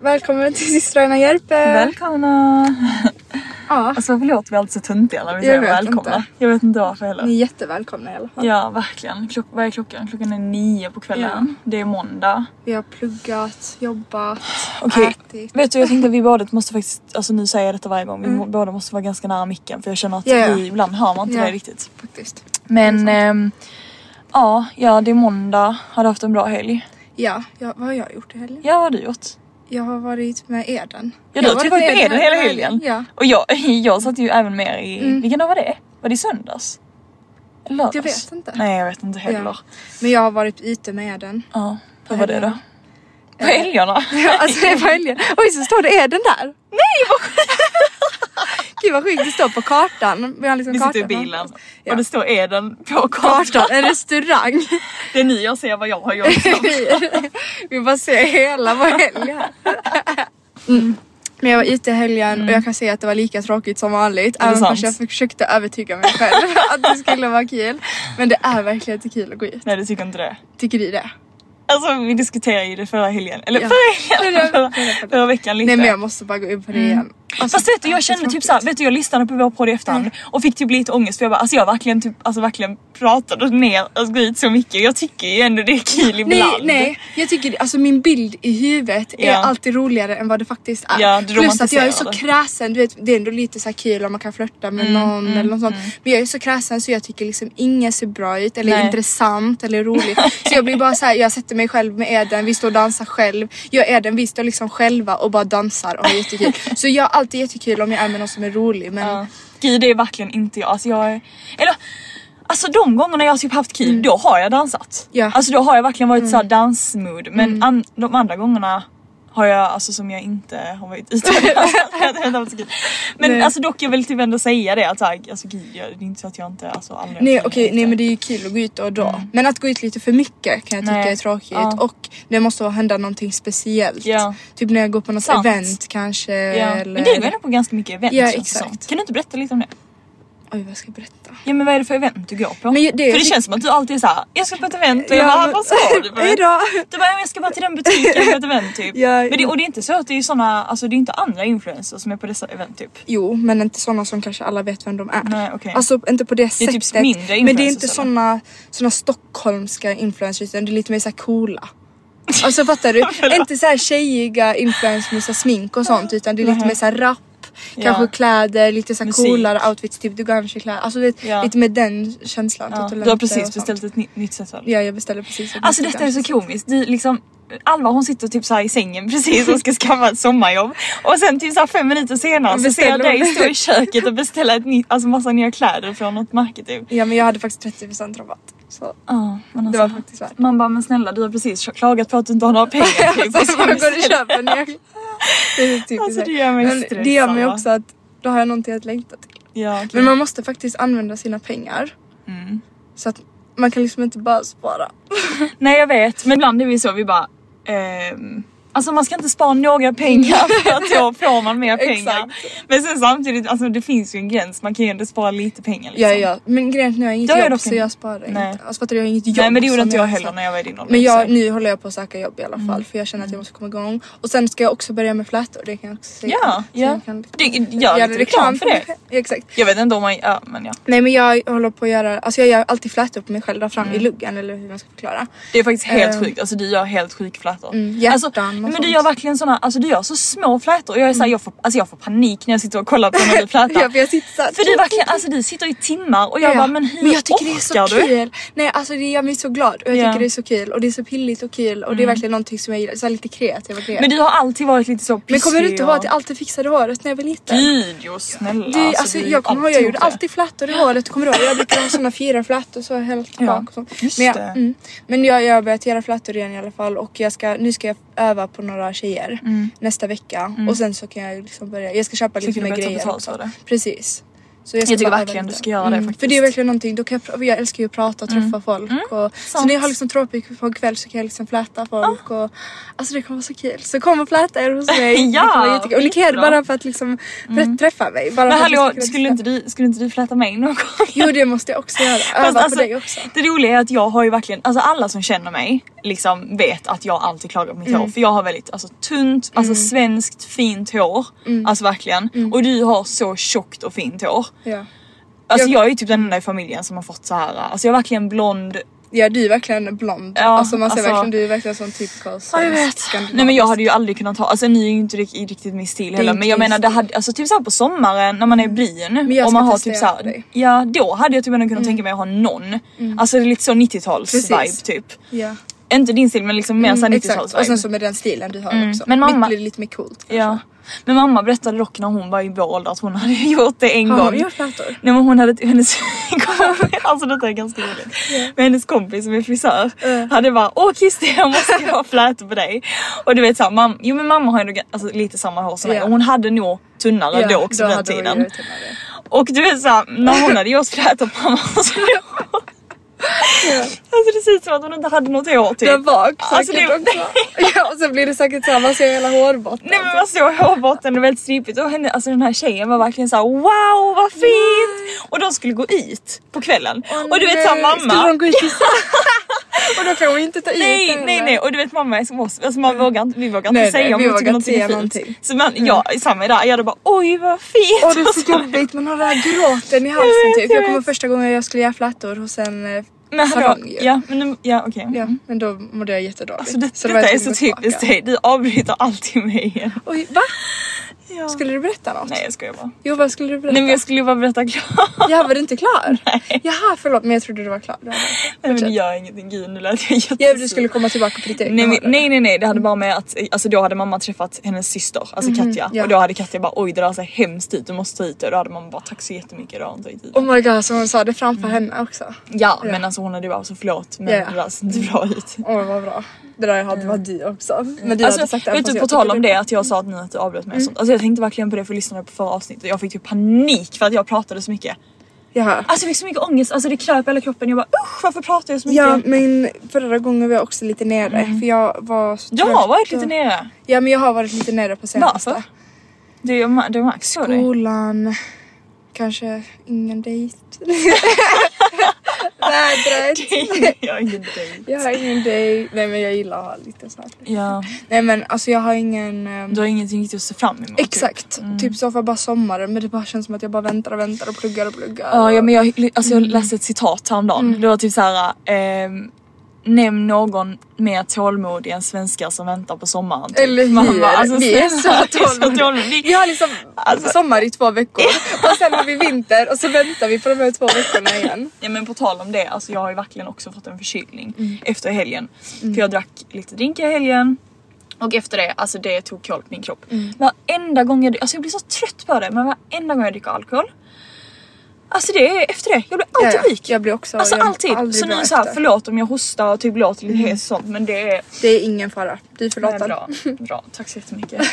Välkommen till systrarna Järpe! Välkomna! ja, Alltså förlåt vi är alltid så töntiga när vi Jag säger vet välkomna. inte. Jag vet inte varför heller. ni är jättevälkomna i alla fall. Ja verkligen. Klock, vad är klockan? Klockan är nio på kvällen. Det är måndag. Vi har pluggat, jobbat, Okej, ätit. vet du jag tänkte att vi båda måste faktiskt, alltså nu säger jag detta varje gång, vi må- båda måste vara ganska nära micken för jag känner att Mm. Ja, ja. vi, ibland hör man inte Ja. det riktigt. Faktiskt. Men ehm, ja, ja det är måndag. Har du haft en bra helg? Ja, ja, vad har jag gjort i helgen? Ja vad har du gjort? Jag har varit med Eden. Ja Jag du har har typ varit varit med den hela hela helgen. helgen, Och jag, jag satt ju även med i, vilken dag var det? Var det i söndags? Eller Mm. Lördags? Jag vet inte. Nej jag vet inte heller. Ja. Ja. Men jag har varit ute med Eden. Hur var det då? helgerna. Eh, På helgerna? Ja, alltså det var helgen. Oj så står det Eden där! Nej vad sjukt! Gud vad sjukt, det står på kartan. Vi har liksom Vi sitter i kartan bilen framför oss. och det står Eden på kartan. Kartan, en restaurang. Det är nu jag ser vad jag har gjort. Vi bara ser hela vår helg här. Mm. Men jag var ute i helgen och jag kan säga att det var lika tråkigt som vanligt. det Även sant? fast jag försökte övertyga mig själv att det skulle vara kul. Men det är verkligen inte kul att gå ut. Nej du tycker inte det? Tycker du det? Alltså vi diskuterade ju det förra helgen, eller Ja. förra helgen, Förra- förra, förra- förra veckan lite. Nej men jag måste bara gå in på det igen. Alltså, Mm. Fast vet du det är jag kände typ tråkigt. såhär, vet du jag lyssnade på vår podd i Mm. efterhand och fick typ lite ångest för jag bara alltså jag verkligen typ alltså verkligen pratade ner att gå ut så mycket. Jag tycker ju ändå det är kul Nej, ibland. nej, jag tycker alltså min bild i huvudet är Ja. alltid roligare än vad det faktiskt är. Ja, det Plus att jag är så romantiserar det. kräsen, du vet det är ändå lite så här kul om man kan flirta med Mm, någon eller något sånt. Men jag är så kräsen så jag tycker liksom inget ser bra ut eller Nej. intressant eller roligt. så jag blir bara så här, jag sätter mig själv med Eden, vi står och dansar själv. Jag och Eden vi står liksom själva och bara dansar och har jättekul. så jag har alltid jättekul om jag är med någon som är rolig men Ja. Gud det är verkligen inte jag. Alltså jag är... Eller alltså de gångerna jag har typ haft kul då har jag dansat. Mm. Ja. Mm. Alltså då har jag verkligen varit såhär dansmood men an- de andra gångerna har jag alltså som jag inte har varit ute och dansat, jag har inte haft så kul. Men Nej. alltså dock jag vill typ ändå säga det att så här, alltså gud jag, det är inte så att jag inte alltså aldrig Nej okej, nej men det är ju kul att gå ut och då. Men att gå ut lite för mycket kan jag tycka Mm. Nej. är tråkigt Ja. och det måste hända någonting speciellt. Ja. Typ när jag går på något Sant. event kanske. Ja. Eller... Men du går ändå på ganska mycket event Ja, känns det som. exakt. Kan du inte berätta lite om det? Oj vad ska jag berätta? Ja men vad är det för event du går på? Men ju- det- för det känns som att du alltid är såhär, jag ska på ett event och jag bara, men- vad ska du på? Hejdå! Du bara, jag ska bara till den butiken på ett event typ. Ja, men det, ja. och det är inte så att det är såna, alltså det är inte andra influencers som är på dessa event typ. Jo men inte sådana som kanske alla vet vem de är. Nej, okej. Alltså inte på det, Det är sättet. typ mindre men det är influencers, inte eller? sådana såna stockholmska influencers utan det är lite mer såhär coola. Alltså fattar du? inte såhär tjejiga influencers med så här smink och sånt utan det är lite mer såhär rap. Kanske Ja. kläder, lite såhär Musik. coolare outfits, typ Duganshi-kläder. Alltså du vet, Ja. lite med den känslan. Ja, typ, du har och precis sånt. beställt ett ny, nytt set Ja jag beställde precis. ett Alltså nytt detta är så Duganshi-set. komiskt. Du, liksom, Alva hon sitter typ såhär i sängen precis och ska skaffa ett sommarjobb och sen typ såhär fem minuter senare så ser jag Beställer hon dig det. stå i köket och beställa ett nytt, alltså massa nya kläder från något märke typ. Ja men jag hade faktiskt 30% rabatt. Så Ja, men det alltså, var faktiskt värt. Man bara men snälla du har precis klagat på att du inte har några pengar typ. Alltså, man går och köper nya kläder. Det är typ Alltså, så här. det gör mig Men stressad, Det gör mig va? också att då har jag någonting att längta till. ja, okej. Men man måste faktiskt använda sina pengar. Mm. Så att man kan liksom inte bara spara. Nej jag vet men ibland är vi så vi bara ehm, Alltså man ska inte spara några pengar för att då får man mer pengar. Exakt. Men sen samtidigt, alltså det finns ju en gräns. Man kan ju ändå spara lite pengar liksom. Ja, ja. Men grejen är att nu har jag inget Jag gör jobb dock så inte- jag sparar Nej. inte. Alltså fattar du, jag har inget jobb. Nej men det gjorde som inte jag har heller sagt. när jag var i din ålder. Men jag, så. Mm. nu håller jag på att söka jobb i alla fall för jag känner att jag måste komma igång. Och sen ska jag också börja med flätor, det kan jag också säga. Ja, Så ja. jag kan liksom Du, gör lite reklam för det. Ja, exakt. Jag vet inte om man, ja men ja. Nej men jag håller på att göra, alltså jag gör alltid flätor på mig själv där fram i Mm. luggen eller hur man ska förklara. Det är faktiskt helt Ehm. sjukt, alltså du gör helt sjuka flätor. Mm, hjärtan alltså, och men sånt. Mm. du gör verkligen såna, alltså du gör så små flätor. Jag är såhär, jag, får, alltså, jag får panik när jag sitter och kollar på när du flätar. Ja, för jag sitter såhär- För du verkligen, alltså du sitter i timmar och jag bara, men hur jag tycker det är så orkar du? kul. Nej alltså det gör mig så glad och jag Ja. Mm. tycker det är så kul och det är så pilligt och kul och det är verkligen någonting som jag gillar, så här lite kreativa grejer. Men du har alltid varit lite så Men pissig kommer du inte ihåg att och- jag alltid fixade håret när jag var liten? Gud jo snälla. Det, alltså, du- jag kommer ihåg, jag gjorde gjort det. alltid flätor i håret, kommer du ihåg? Jag brukade ha såna fyra flätor så helt Ja, bak och så. just Men, jag, det. mm, men jag, jag har börjat göra flätor igen i alla fall och jag ska, nu ska jag öva på några tjejer nästa vecka och sen så kan jag liksom börja, jag ska köpa Mm. Så lite kan du mer börja ta grejer betalt också. för det. Precis. Så Jag tycker bara öva verkligen lite. du ska göra det faktiskt. Mm. För det är verkligen någonting, då kan jag, pr- jag älskar ju att prata och träffa folk. Och, så sant. Ah. när jag har liksom tråkigt på en kväll så kan jag liksom fläta folk och alltså det kommer vara så kul. Så kom och fläta er hos mig. Ja, det kommer vara jättekul. Och ni kan göra det skitbra. bara för att liksom för- träffa mig. Bara Mm. Men för att vi ska hallå kunna skulle träffa- inte du, skulle inte du fläta mig någon gång? Jo det måste jag också göra. Öva Fast på alltså, dig också. Det roliga är att jag har ju verkligen, alltså alla som känner mig liksom vet att jag alltid klagar på mitt Mm. hår för jag har väldigt alltså, tunt, alltså svenskt fint hår. Mm. Alltså verkligen. Och du har så tjockt och fint hår. Ja. Alltså Jag- jag, är ju typ den enda i familjen som har fått så här. alltså jag är verkligen blond. ja du är verkligen blond. Ja, alltså man ser alltså- verkligen, du är verkligen sån typical skandinavisk. Nej men jag hade ju aldrig kunnat ha, alltså ni är ju inte rikt- riktigt min stil heller inte men jag din menar det stil. Mm. hade, alltså typ såhär på sommaren när man är brun. Men jag och ska man har testa typ göra för såhär, dig. ja då hade jag typ ändå kunnat tänka mig att ha någon. Alltså det är lite så 90-tals Mm. Precis. vibe typ. Ja. Inte din stil men liksom mer såhär Mm, 90-tals exakt. vibe. Mm. Och sen så med den stilen du har också. Men mamma- Mitt blir lite mer coolt. Ja. Men mamma berättade dock när hon var i vår ålder att hon hade gjort det en Har gång. hon gjort flätor? Nej men hon hade, hennes kompis, alltså detta är ganska roligt. Men hennes kompis som är frisör hade bara åh Kristi jag måste ha flätor på dig. Och du vet såhär, mam- jo men mamma har ju nog alltså, lite samma hår som mig Ja. och hon hade nog tunnare då också på den hade hon ju tiden. gjort henne det. Och du vet såhär, när hon hade gjort flätor på mamma så Alltså det ser ut som att hon inte hade något hår typ. Jag vak Alltså, säkert det- också. Ja och så blir det säkert såhär, man ser hela hårbotten. Nej men alltså, man såg hårbotten och väldigt stripigt och henne, alltså den här tjejen var verkligen såhär wow vad fint! Och de skulle gå ut på kvällen. och du vet såhär Skulle de mamma. gå ut i Och då kan vi inte ta i Nej, det nej, heller. nej och du vet mamma är som oss, alltså man vågar inte, vi vågar inte Mm. Nej, nej, säga om vi vi vågar tycker inte någonting är säga fint. någonting. Mm. Så man, jag, samma idag, jag hade bara oj vad fint! Åh det är så jobbigt, man har den här gråten i halsen vet, typ. jag Jag kommer vet. första gången jag skulle göra flätor hos en eh, men hallå, salong ju. ja men nu- ja okej. Ja, men då mådde jag jättedåligt. Alltså det, då var detta jag är tvungen så att gå typiskt tillbaka. dig, du avbryter alltid mig igen. Oj, va? Ja. Skulle du berätta något? Nej jag skojar bara. Jo vad skulle du berätta? Nej men jag skulle bara berätta klart. Jag var du inte klar? Nej. Jaha förlåt men jag trodde du var klar. Du hade- Nej men det Fortsätt. gör ingenting, gud nu lät jag jättesur. Ja, du skulle komma tillbaka på ditt egna Nej, men- håll. nej nej nej det hade bara med att alltså, då hade mamma träffat hennes syster, alltså Katja. Mhm, ja. Och då hade Katja bara oj det där ser hemskt ut, du måste ta hit det. Och då hade mamma bara tack så jättemycket, det har inte tagit hit det." Oh my god, så hon sa det framför henne också. Ja men alltså hon hade ju bara så förlåt men Ja, ja. det där ser inte bra ut. Åh vad bra. Det där jag hade var du också. Men du Mm. hade Alltså, sagt det vet du på tal om det att jag sa att ni att du avbröt mig och sånt. Alltså jag tänkte verkligen på det för jag lyssnade på förra avsnittet. Jag fick ju panik för att jag pratade så mycket. Jaha. Alltså jag fick så mycket ångest, alltså det kröp i hela kroppen. Jag bara usch varför pratar jag så mycket? Ja men förra gången var jag också lite nere Mm. för jag var så jag har trött varit och- lite nere. Ja men jag har varit lite nere på senaste. Varför? Du, jag, ma- du märks på dig. Skolan, kanske ingen dejt. Vädret. jag är ingen dejt. Jag har ingen dejt. Nej men jag gillar att ha lite så här. Ja. Nej men alltså jag har ingen... ehm, Du har Mm. ingenting riktigt att se fram emot. Exakt, typ så för bara sommaren men det bara känns som att jag bara väntar och väntar och pluggar och pluggar. Ja, ja och- men jag, alltså, Mm. jag läste ett citat häromdagen. Det var typ såhär. ehm, Nämn någon mer tålmodig än svenskar som väntar på sommaren. typ. Eller Man hur? bara, alltså, vi är snälla, så vi är så tålmodiga. tålmodiga. Vi har liksom Alltså- sommar i två veckor och sen har vi vinter och så väntar vi på de här två veckorna igen. Ja men på tal om det, alltså jag har ju verkligen också fått en förkylning Mm. efter helgen. För jag drack lite drink i helgen. Och efter det, alltså det tog koll på min kropp. Mm. Varenda gång jag, alltså jag blir så trött på det men varenda gång jag dricker alkohol. Alltså det är efter det, jag blir Ja, alltid ja. sjuk. Jag blir också- Alltså jag mår alltid. aldrig Så nu bra så här, efter. Mm. förlåt om jag hostar och typ låter lite hes och sånt men det är Det är ingen fara, du är Nej, förlåten. bra. bra, tack så jättemycket.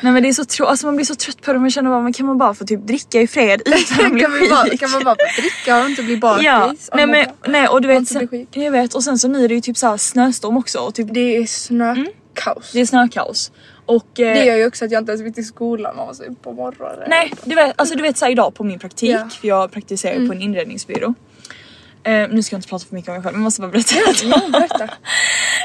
Nej men det är så tro- alltså man blir så trött på det man känner bara men kan man bara få typ dricka i fred utan att bli kan, man bara, sjuk? kan man bara dricka och inte bli bakis? Ja, Oh nej, my men, God. nej och du vet, inte bli sen, sjuk. jag vet och sen så nu är det ju typ så här snöstorm också och typ Det är snö. snökaos. Det är snökaos. Och, eh, Det gör ju också att jag inte ens vill till skolan mamma så på morgonen. Nej, du vet, alltså du vet så här idag på min praktik, Ja. Mm. för jag praktiserar ju på en inredningsbyrå. Eh, nu ska jag inte prata för mycket om mig själv, men jag måste bara berätta. Berätta.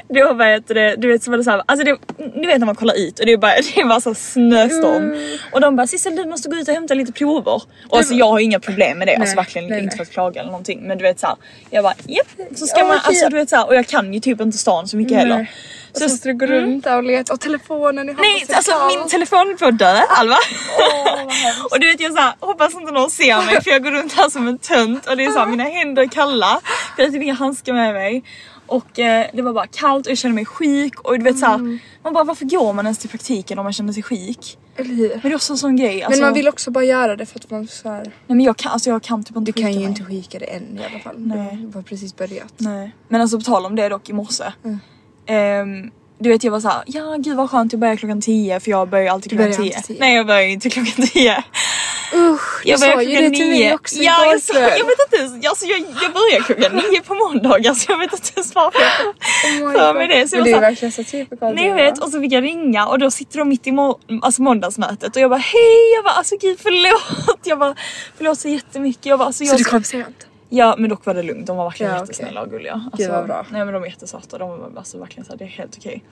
det var vad heter det, du vet så var det så här, alltså det, ni vet när man kollar ut och det är bara, det är bara så snöstorm. Mm. Och de bara Sissel du måste gå ut och hämta lite prover. Och alltså jag har ju inga problem med det, alltså verkligen nej, inte nej. för att klaga eller någonting. Men du vet såhär, jag bara japp, så ska Ja, man, okej. alltså du vet såhär, och jag kan ju typ inte stan så mycket heller. Och så måste du gå runt där och leta och telefonen i handen. mm. Nej, alltså min telefon är på att dö, Alva. och du vet jag så här, hoppas inte någon ser mig för jag går runt här som en tönt och det är så här, mina händer är kalla. För jag har typ inga handskar med mig. Och eh, det var bara kallt och jag kände mig sjuk och du vet så Mm. här, man bara varför går man ens till praktiken om man känner sig sjuk? telefon. Men det är också en sån grej. Alltså, Men man vill också bara göra det för att man så här. Nej men jag kan, alltså, jag kan typ inte Du kan skicka ju mig. inte skicka det än i alla fall. Nej. Du har precis börjat. Nej. Men alltså på tal om det dock i morse. Mm. Ehm, du vet jag var såhär, ja gud vad skönt jag börjar klockan 10 för jag börjar ju alltid Du klockan börjar 10. alltid 10. Nej jag börjar ju inte klockan 10. Usch, Jag du börjar sa ju klockan det till mig nio. också Ja, jag, igår sa, kväll. jag vet inte ens, alltså, jag, jag börjar klockan nio på måndagar så jag vet inte ens varför jag Oh my för God. mig det. Så Men jag det är var verkligen så såhär, typiskt. nej jag vet och så fick jag ringa och då sitter de mitt i må- alltså, måndagsmötet och jag bara hej, jag bara alltså gud förlåt, jag bara förlåt så jättemycket. Jag bara, alltså, jag Så du ska- kom sent? Ja men dock var det lugnt, de var verkligen Ja, jättesnälla och gulliga. Alltså, Gud, vad bra. Nej men de var jättesöta, de var alltså, verkligen såhär, det är helt okej.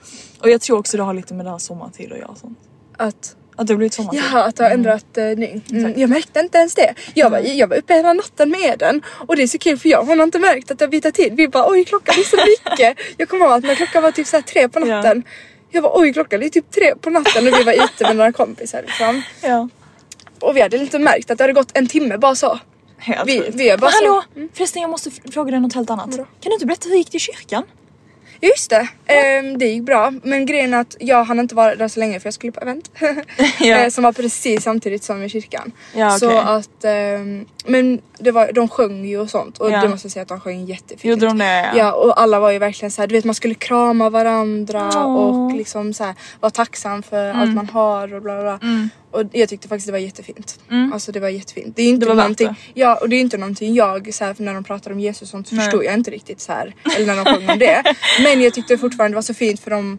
Och jag tror också det har lite med den här sommartid att göra och sånt. Att, Att det har blivit sommartid. jaha, att du har ändrat eh, ny. Mm, jag märkte inte ens det. Jag var, jag var uppe hela natten med den och det är så kul för jag har nog inte märkt att det har bytt tid. Vi bara oj klockan är så mycket. jag kommer ihåg att när klockan var typ så här tre på natten. Jag var oj klockan är typ tre på natten och vi var ute med några kompisar liksom. Ja. Och vi hade inte märkt att det hade gått en timme bara så. Helt Vi- sjukt. vi är bara Men hallå! så- Förresten jag måste f- fråga dig något helt annat. Kan du inte berätta hur gick det i kyrkan? Ja, Just det, Ehm, det gick bra. Men grejen är att jag hann inte vara där så länge för jag skulle på event. Ja. Eh, som var precis samtidigt som i kyrkan. Ja, okej. Så att, ehm, men det var, de sjöng ju och sånt och Ja. det måste jag säga att de sjöng jättefint. Gjorde de det? Ja och alla var ju verkligen så här, du vet man skulle krama varandra Åh. och liksom så här, vara tacksam för Mm. allt man har och bla bla. bla. Och jag tyckte faktiskt det var jättefint. Alltså det var jättefint. Det är ju inte Mm. Det var värt någonting, ja och det är ju inte någonting jag så här, för när de pratar om Jesus och sånt så förstod jag inte riktigt så här eller när de sjöng om det. Men jag tyckte fortfarande det var så fint för de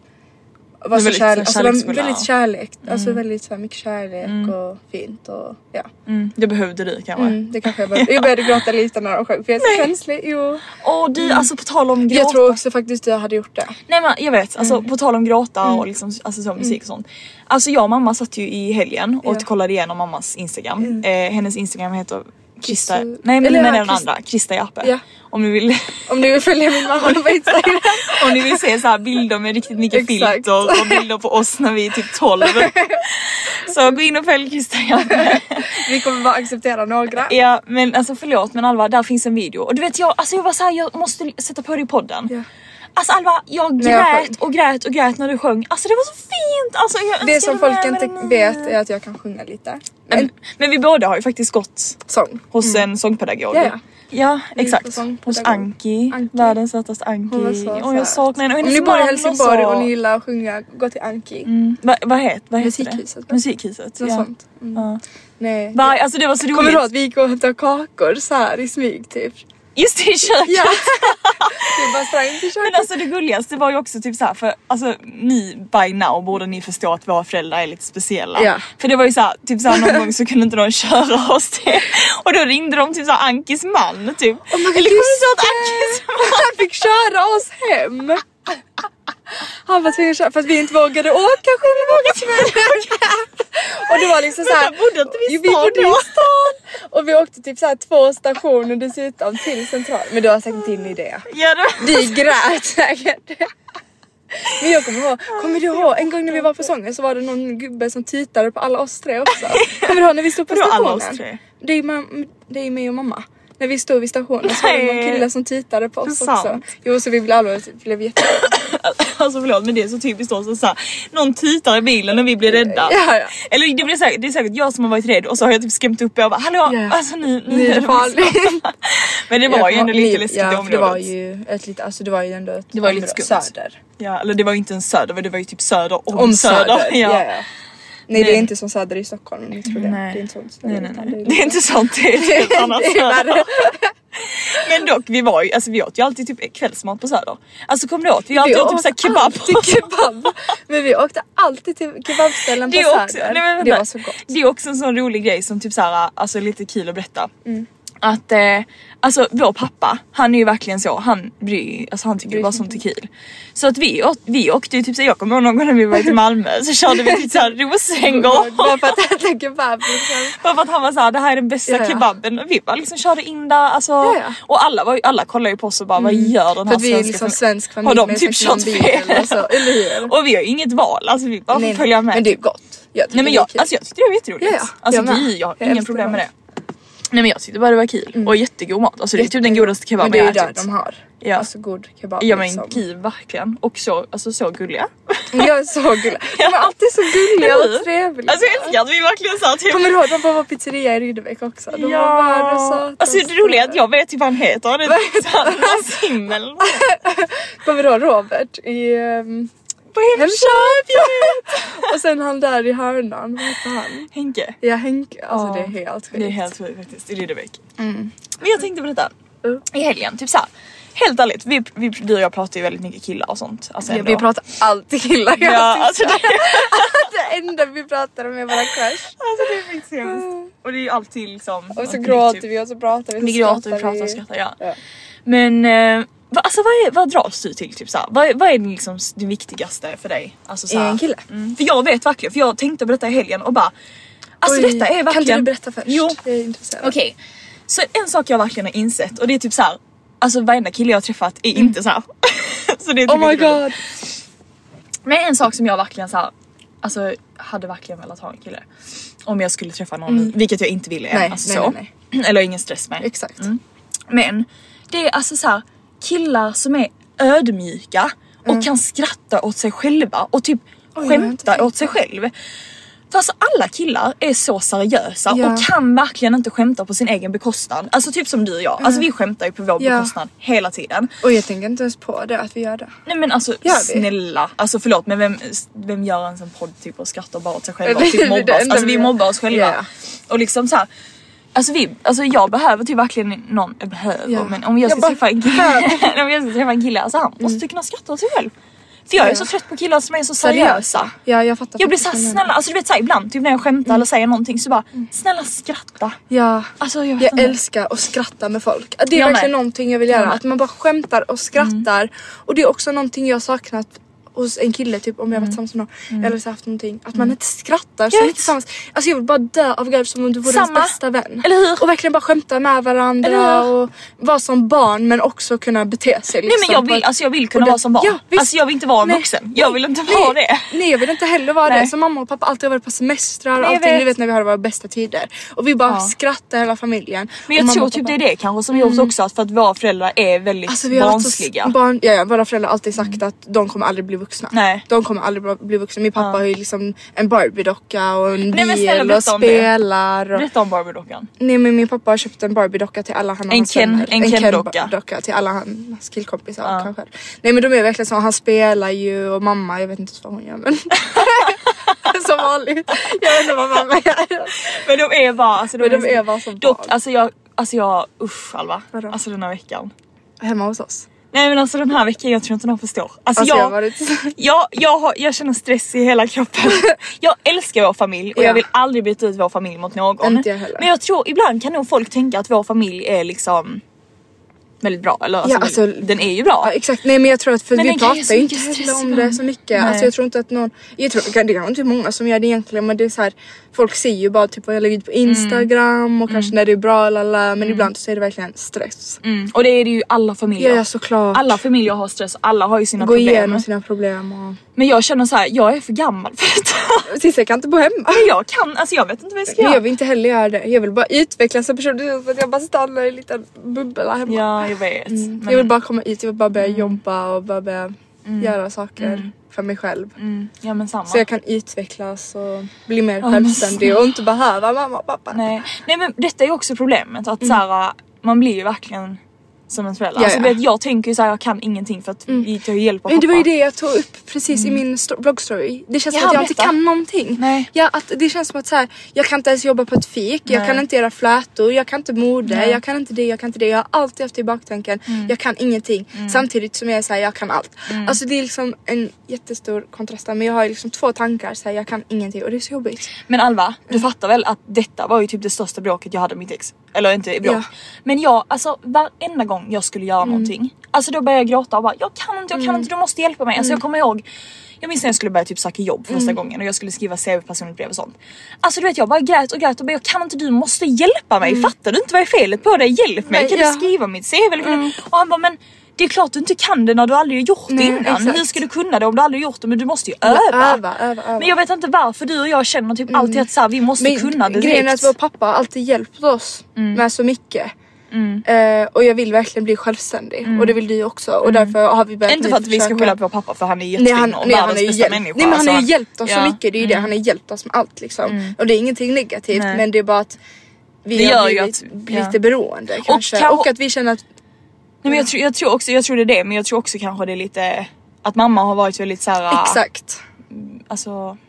var är så väldigt kärle- alltså, de var kärleksfulla. väldigt kärlek, alltså väldigt så här, mycket kärlek och fint och ja. Mm, det behövde du kanske. Mm, det kanske jag började, jag började gråta lite när de sjöng för jag är så känslig. Jo. Och du, alltså på tal om gråta. Jag tror också faktiskt att jag hade gjort det. Nej men jag vet, alltså på tal om gråta och liksom, alltså, så, musik och sånt. Alltså jag och mamma satt ju i helgen och Ja. kollade igenom mammas instagram. Eh, hennes instagram heter Krista, Kristu- nej men Eller nu ja, menar jag den Krist- andra, Krista Jappe. Ja. Om ni vill Om ni vill följa min mamma på Instagram. Om ni vill se så här bilder med riktigt mycket Exakt. filter och bilder på oss när vi är typ 12. Så gå in och följ Christian Jappe. Vi kommer bara acceptera några. Ja men alltså förlåt men Alva där finns en video och du vet jag, alltså jag var såhär jag måste sätta på det i podden. Ja. Alltså Alva jag När jag sjöng. grät och grät och grät när du sjöng. Alltså det var så fint! Alltså, jag Det önskar som du var folk här inte med mig. vet är att jag kan sjunga lite. Men, Mm. men vi båda har ju faktiskt gått Sång. hos en sångpedagog. Mm. Ja, ja. Ja, Vi gick på exakt. Hos sångpedagog. Anki, Anki. världens sötaste Anki. Hon var så och jag söt. saknar henne och Om hennes ni bor i man Helsingborg så. och ni gillar att sjunga, gå till Anki. Mm. Va- Vad het, vad heter Musikhuset, det? va? Musikhuset. Något ja. sånt. Mm. Ja. Nej. Va, alltså det var så roligt. Kommer du ihåg att vi gick och hämtade kakor så här i smyg typ? Just det, i köket. Ja. vi bara sprang till Men köket. alltså det gulligaste var ju också typ såhär för alltså ni by now borde ni förstå att våra föräldrar är lite speciella. Ja. För det var ju såhär typ såhär någon gång så kunde inte någon köra oss det och då ringde de typ såhär Ankis man typ. Oh my God, Eller kommer just du ihåg att Ankis man Han fick köra oss hem. Han var tvungen att köra för att vi inte vågade åka själva. Och det var liksom såhär. Vänta, bodde inte vi i Jo, stan bodde i då? stan. Och vi åkte typ såhär två stationer dessutom till central. Men du har säkert din idé. Ja, det- Vi grät säkert. Men jag kommer ihåg, kommer du ihåg en gång när vi var på sången så var det någon gubbe som tittade på alla oss tre också. Kommer du ihåg när vi stod på Vadå alla stationen? oss tre? Det är, mam- det är mig och mamma. När vi stod vid stationen så var det någon Nej. kille som tittade på Det är oss också. sant. Jo så vi blev allvarligt blev jätte... Alltså förlåt men det är så typiskt oss att såhär någon tittar i bilen och vi blir rädda. Ja, ja. Eller det, blir säkert, det är säkert jag som har varit rädd och så har jag typ skrämt upp er och bara hallå Ja. alltså ni, ni, Ni är de farliga. Men det var ju ändå lite läskigt ja, för området. det var ju ett litet, alltså det var ju ändå ett Det var ju lite område- skumt. söder. Ja, eller det var ju inte en söder, men det var ju typ söder om, Om söder. Ja. Nej det är Nej. inte som söder i Stockholm om ni tror det. Nej. Det är inte sånt. Nej, nej, Det nej. Det är inte sånt, det är ett helt annat är söder. värre. Men dock, vi var ju, alltså vi åt ju alltid typ kvällsmat på Söder. Alltså kommer du ihåg? Vi åt ju typ åt såhär kebab. alltid kebab. Men vi åkte alltid till kebabställen på Det är, också, Söder. nej, men det vänta. var så gott. det är också en sån rolig grej som typ så här, alltså lite kul att berätta. Mm. Att eh, alltså vår pappa, han är ju verkligen så, han bryr alltså han tycker bara sånt är kul. Så att vi, åt, vi åkte ju typ såhär, jag kommer ihåg någon gång när vi var till Malmö så körde vi typ såhär Rosengård. Bara för att äta kebab liksom. Bara för att han var såhär, det här är den bästa Ja, ja. kebaben. Och vi bara liksom körde in där alltså. ja. Och alla, var, ju- alla kollade ju på oss och bara, vad gör den För här att vi är svenska liksom familjen? svensk familj Har de med typ svensk kört bil fel? och så, eller hur? Och vi har ju inget val, alltså vi bara får Nej, följa med. Men det är gott. Jag tycker Nej men det är jag, kul. alltså jag tyckte det var jätteroligt. Ja, ja. Alltså Jag med. vi, jag har Jag inga älskar problem med dem. Mm. det. Nej men jag tyckte bara det var kul och jättegod mat. Alltså det är typ den godaste Men kebaben det är ju jag där ätit. de har. Ja. Alltså god kebab Ja men liksom. gud verkligen. Och så, alltså, så gulliga. Jag är så gullig. De är alltid så gulliga Eller och hur? trevliga. Alltså jag älskar att vi verkligen sa typ. Kommer du ihåg de var på pizzeria i Rydebäck också? De var bara Ja, söta. alltså det roliga är att jag vet typ vad han heter. Han heter Sandra Simmel. Kommer du ihåg Robert i ehm, På Hemköp! Hemköp? Ja. och sen han där i hörnan, vad hette han? Henke. Ja Henke, alltså Ja, det är helt sjukt. Det är helt sjukt faktiskt, i Rydebäck. Men jag tänkte på detta. Mm. I helgen, typ såhär. Helt ärligt, vi, vi, du och jag pratar ju väldigt mycket killar och sånt. Alltså Ja, ändå. vi pratar alltid killar. Ja, Jag alltså det, Det enda vi pratar om är våra crush. alltså det är faktiskt hemskt. Och det är ju alltid liksom... Och så något gråter nytt, typ. vi och så pratar vi. så Vi gråter, vi skrattar pratar och skrattar ja. Ja. Men eh, vad- alltså vad, är, vad dras du till? Typ, såhär? Vad, är- vad är den, liksom, s- det viktigaste för dig? Alltså, såhär- en kille? Mm, för jag vet verkligen, för jag tänkte på detta i helgen och bara Alltså Oj, detta är verkligen... Kan inte du berätta först? Jo, Jag är intresserad. Okej, så en sak jag verkligen har insett och det är typ så här. Alltså varenda kille jag har träffat är inte så här. så det är typ Mm. Oh my inte roligt. god. Men en sak som jag verkligen så här, alltså hade verkligen velat ha en kille. Om jag skulle träffa någon ny, vilket jag inte ville än. Mm. Nej, alltså, nej, så. nej, Eller ingen stress med. Mm. Exakt. Men det är alltså så här, killar som är ödmjuka och kan skratta åt sig själva och typ Mm. har inte skämta tänkt åt sig själv. För alltså alla killar är så seriösa Ja. och kan verkligen inte skämta på sin egen bekostnad. Alltså typ som du och jag, alltså vi skämtar ju på vår Ja. bekostnad hela tiden. Och jag tänker inte ens på det att vi gör det. Nej men alltså Gör vi? snälla, alltså förlåt men vem, vem gör ens en podd typ och skrattar bara åt sig själva Det och är typ det mobbar oss? enda Alltså vi vi gör. mobbar oss själva. Ja. Och liksom såhär, alltså, vi, alltså jag behöver typ verkligen någon, jag behöver Ja. men om Jag jag ska bara Mm. träffa en kille, om jag ska träffa en kille, alltså han måste kunna skratta åt sig själv. För jag är Ja. så trött på killar som är så seriösa. Ja jag fattar. Jag blir såhär faktiskt vad du Mm. snälla, alltså du vet såhär ibland typ när jag skämtar eller säger någonting så bara snälla skratta. menar. Ja. Alltså jag vet Jag inte. älskar att skratta med folk. Det är Jag med. Mm. verkligen någonting jag vill göra. med. Att man bara skämtar och skrattar. Och det är också någonting jag har saknat hos en kille typ om jag varit Mm. tillsammans med någon. Eller så haft någonting. Att man inte skrattar så Jag mycket vet. tillsammans. Alltså jag vill bara dö av garv som om du vore Samma. ens bästa vän. Eller hur? Och verkligen bara skämta med varandra Eller hur? och vara som barn men också kunna bete sig liksom. Nej men jag på vill, ett- alltså jag vill och kunna det- vara som barn. Ja, visst. alltså jag vill inte vara en Nej. vuxen. Jag vill inte vara det. Nej jag vill inte heller vara Nej. det. Så mamma och pappa alltid har varit på semestrar och jag allting. vet. Du vet när vi hade våra bästa tider. Och vi bara Ja. skrattar hela familjen. Men Och jag mamma tror och typ pappa- Mm. det är det kanske som gjort också att för att våra föräldrar är väldigt Alltså vi har varit så barnsliga. Mm. s- barn, ja, ja, våra föräldrar har alltid sagt att de kommer aldrig bli vuxna. Nej. De kommer aldrig bra- bli vuxna. Min pappa har ju liksom en Barbie-docka och en Nej, men bil snälla, och berätta om det. spelar. Och... Berätta om Barbie-dockan. Nej men min pappa har köpt en Barbie-docka till alla han och En hans Ken- vänner. en Ken-docka. Ken-ba- docka till alla hans killkompisar kanske. Nej men de är verkligen så, han spelar ju och mamma, jag vet inte ens vad hon gör men. Som vanligt. Jag vet inte vad mamma gör. Men de är bara... Alltså, Men de är bara som Dock, barn. alltså jag... Alltså jag... Usch Alva. Vadå? Alltså den här veckan. Hemma hos oss. Nej men alltså den här veckan, jag tror inte någon förstår. Alltså, Alltså jag har jag... varit... Jag, jag, har, jag känner stress i hela kroppen. Jag älskar vår familj och Ja. jag vill aldrig byta ut vår familj mot någon. Inte jag heller. men jag tror ibland kan nog folk tänka att vår familj är liksom väldigt bra. Eller, alltså, alltså- den är ju bra. Ja, exakt, nej men jag tror att för Men vi den kan ge pratar så ju inte mycket stress heller om ibland. det så mycket. Alltså jag tror inte att någon, jag tror, det är nog inte många som gör det egentligen men det är så här, folk ser ju bara typ vad jag lägger ut på Mm. instagram och kanske när det är bra lala, men ibland så är det verkligen stress. Mm. Och det är det ju i alla familjer. Ja, ja, såklart. Alla familjer har stress, alla har ju sina Gå problem. igenom sina problem och... Men jag känner så här, jag är för gammal för detta. Cissi jag kan inte bo hemma. Men jag kan, alltså jag vet inte vad jag ska Men göra. jag vill inte heller göra det. Jag vill bara utvecklas som person. Det känns som att jag bara stannar i en liten bubbla hemma. Ja, jag vet. Men, Mm, Mm. Jag vill bara komma ut, jag vill bara börja jobba och bara börja göra saker för mig själv. mm, ja men samma. Så jag kan utvecklas och bli mer men självständig och inte behöva mamma och pappa. Nej. Nej men detta är ju också problemet att så här, man blir ju verkligen som en förälder. Mm. Ja, alltså, ja. Mm. Vet, jag tänker ju såhär, jag kan ingenting för att vi tar ju hjälp av Men det var ju pappa. det jag tog upp precis Mm. i min sto- bloggstory. Det känns som Ja, att jag inte berätta. kan någonting. Nej. Ja, att det känns som att så här, jag kan inte ens jobba på ett fik, jag Nej. kan inte göra flätor, jag kan inte mode, Nej. Mm. jag kan inte det, jag kan inte det. Jag har alltid haft i baktanken, jag kan ingenting. Samtidigt som jag är såhär, jag kan allt. Alltså det är liksom en jättestor kontrast där, men jag har ju liksom två tankar, så här, jag kan ingenting och det är så jobbigt. Men Alva, du Mm. fattar väl att detta var ju typ det största bråket jag hade med mitt ex? Eller inte bråk. Ja. Mm. Men jag, alltså varenda gång jag skulle göra någonting, alltså då började jag gråta och bara jag kan inte, jag kan inte, du måste hjälpa mig. Mm. Alltså jag kommer ihåg, jag minns när jag skulle börja typ söka jobb första gången och jag skulle skriva CV personligt brev och sånt. Alltså du vet jag bara grät och grät och bara jag kan inte, du måste hjälpa mig. Fattar du inte vad är felet på dig? Hjälp mig, Mm. Nej, kan ja. Mm. du skriva mitt CV? Eller kan du? Och han bara men det är klart du inte kan det när du aldrig har gjort det Nej, innan. exakt. Hur ska du kunna det om du aldrig har gjort det? Men du måste ju öva. öva, öva, öva. Men jag vet inte varför du och jag känner typ alltid att så här, vi måste kunna det Mm. grejen är direkt. att vår pappa har alltid hjälpt oss Mm. med så mycket. Eh, och jag vill verkligen bli självständig och det vill du också och därför har vi börjat Mm. Inte nu för att vi ska försöka- skylla på vår pappa för han är Nej, jättefin han, och nej, han, har världens ju bästa hjälpt, nej, människa. men han så har ju han- hjälpt oss Ja. Mm. så mycket, det är ju det, han har hjälpt oss med allt liksom. Och det är ingenting negativt Nej. men det är bara att vi Det har gör ju blivit att- ja. lite beroende kanske. Och, kan- att vi känner att, Nej, men jag, tror, jag tror också, jag tror det är det men jag tror också kanske det är lite att mamma har varit väldigt såhär... exakt. Alltså...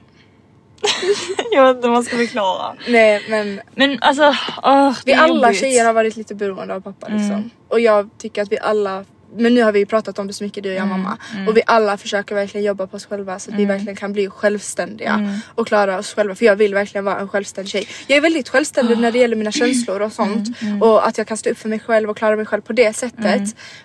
jag vet inte hur man ska förklara. Nej men Men alltså... åh, det vi är alla jobbigt. Mm. tjejer har varit lite beroende av pappa liksom. Och jag tycker att vi alla men nu har vi ju pratat om det så mycket du och jag Mm, mamma och vi alla försöker verkligen jobba på oss själva så att vi verkligen kan bli självständiga Mm. och klara oss själva för jag vill verkligen vara en självständig tjej. Jag är väldigt självständig när det gäller mina känslor och sånt Mm, och att jag kan stå upp för mig själv och klara mig själv på det sättet.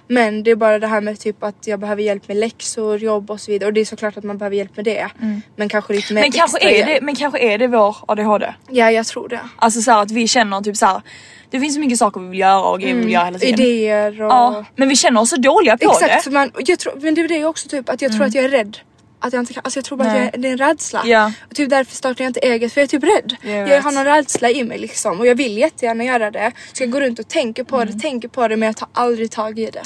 Men det är bara det här med typ att jag behöver hjälp med läxor, jobb och så vidare och det är såklart att man behöver hjälp med det. Men kanske lite mer Mm. men kanske, extra är det, hjälp. men kanske är det vår ADHD? Ja jag tror det. Alltså såhär att vi känner typ såhär, det finns så mycket saker vi vill göra och grejer vi vill göra hela tiden. Mm. Idéer och... Ja, men vi känner oss så dåliga på det. Mm. Exakt, för man, jag tror, men det är det också typ att jag tror att jag är rädd. Att jag inte kan, alltså jag tror bara Nej. att jag, det är en rädsla. Ja. Och typ därför startar jag inte eget för jag är typ rädd. Jag Jag, vet. har någon rädsla i mig liksom och jag vill jättegärna göra det. Så jag går runt och tänker på Mm. det, tänker på det men jag tar aldrig tag i det.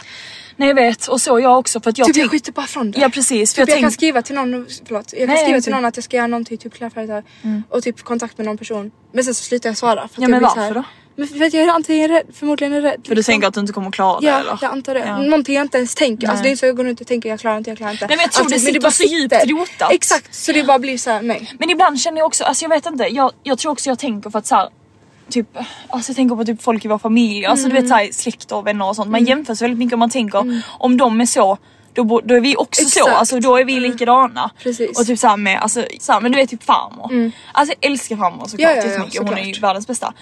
Nej jag vet och så jag också för att jag typ jag tänk- skiter bara från det. Ja precis för Typ jag, jag kan tänker skriva till någon, och- förlåt, jag kan Nej, skriva inte. Mm. till någon att jag ska göra någonting, typ klädföretag och typ kontakt med någon person. Men sen så slutar jag svara. För Ja, jag men blir så här- varför då? Men för att jag är antingen rädd, förmodligen är rädd. liksom. för du tänker att du inte kommer klara det Ja, eller? jag antar det. Mm. Ja. Någonting jag inte ens tänker. Alltså, det är inte så jag går runt och tänker jag klarar inte, jag klarar inte. Alltså, Nej, men jag tror det men sitter bara så djupt sitter. rotat. Exakt, så det bara blir så här, nej. Men ibland känner jag också, alltså jag vet inte, jag, jag tror också jag tänker för att såhär Typ, alltså jag tänker på typ folk i vår familj, alltså Mm. du vet såhär släkt och vänner och sånt. Man jämför sig väldigt mycket om man tänker om de är så då, bo- då är vi också så, Exakt. Mm. alltså då är vi likadana. Precis. Mm. Och typ såhär med, alltså såhär, men du vet typ farmor. Alltså jag älskar farmor såklart Ja, ja, ja, jättemycket, hon är ju såklart. Mm. världens bästa.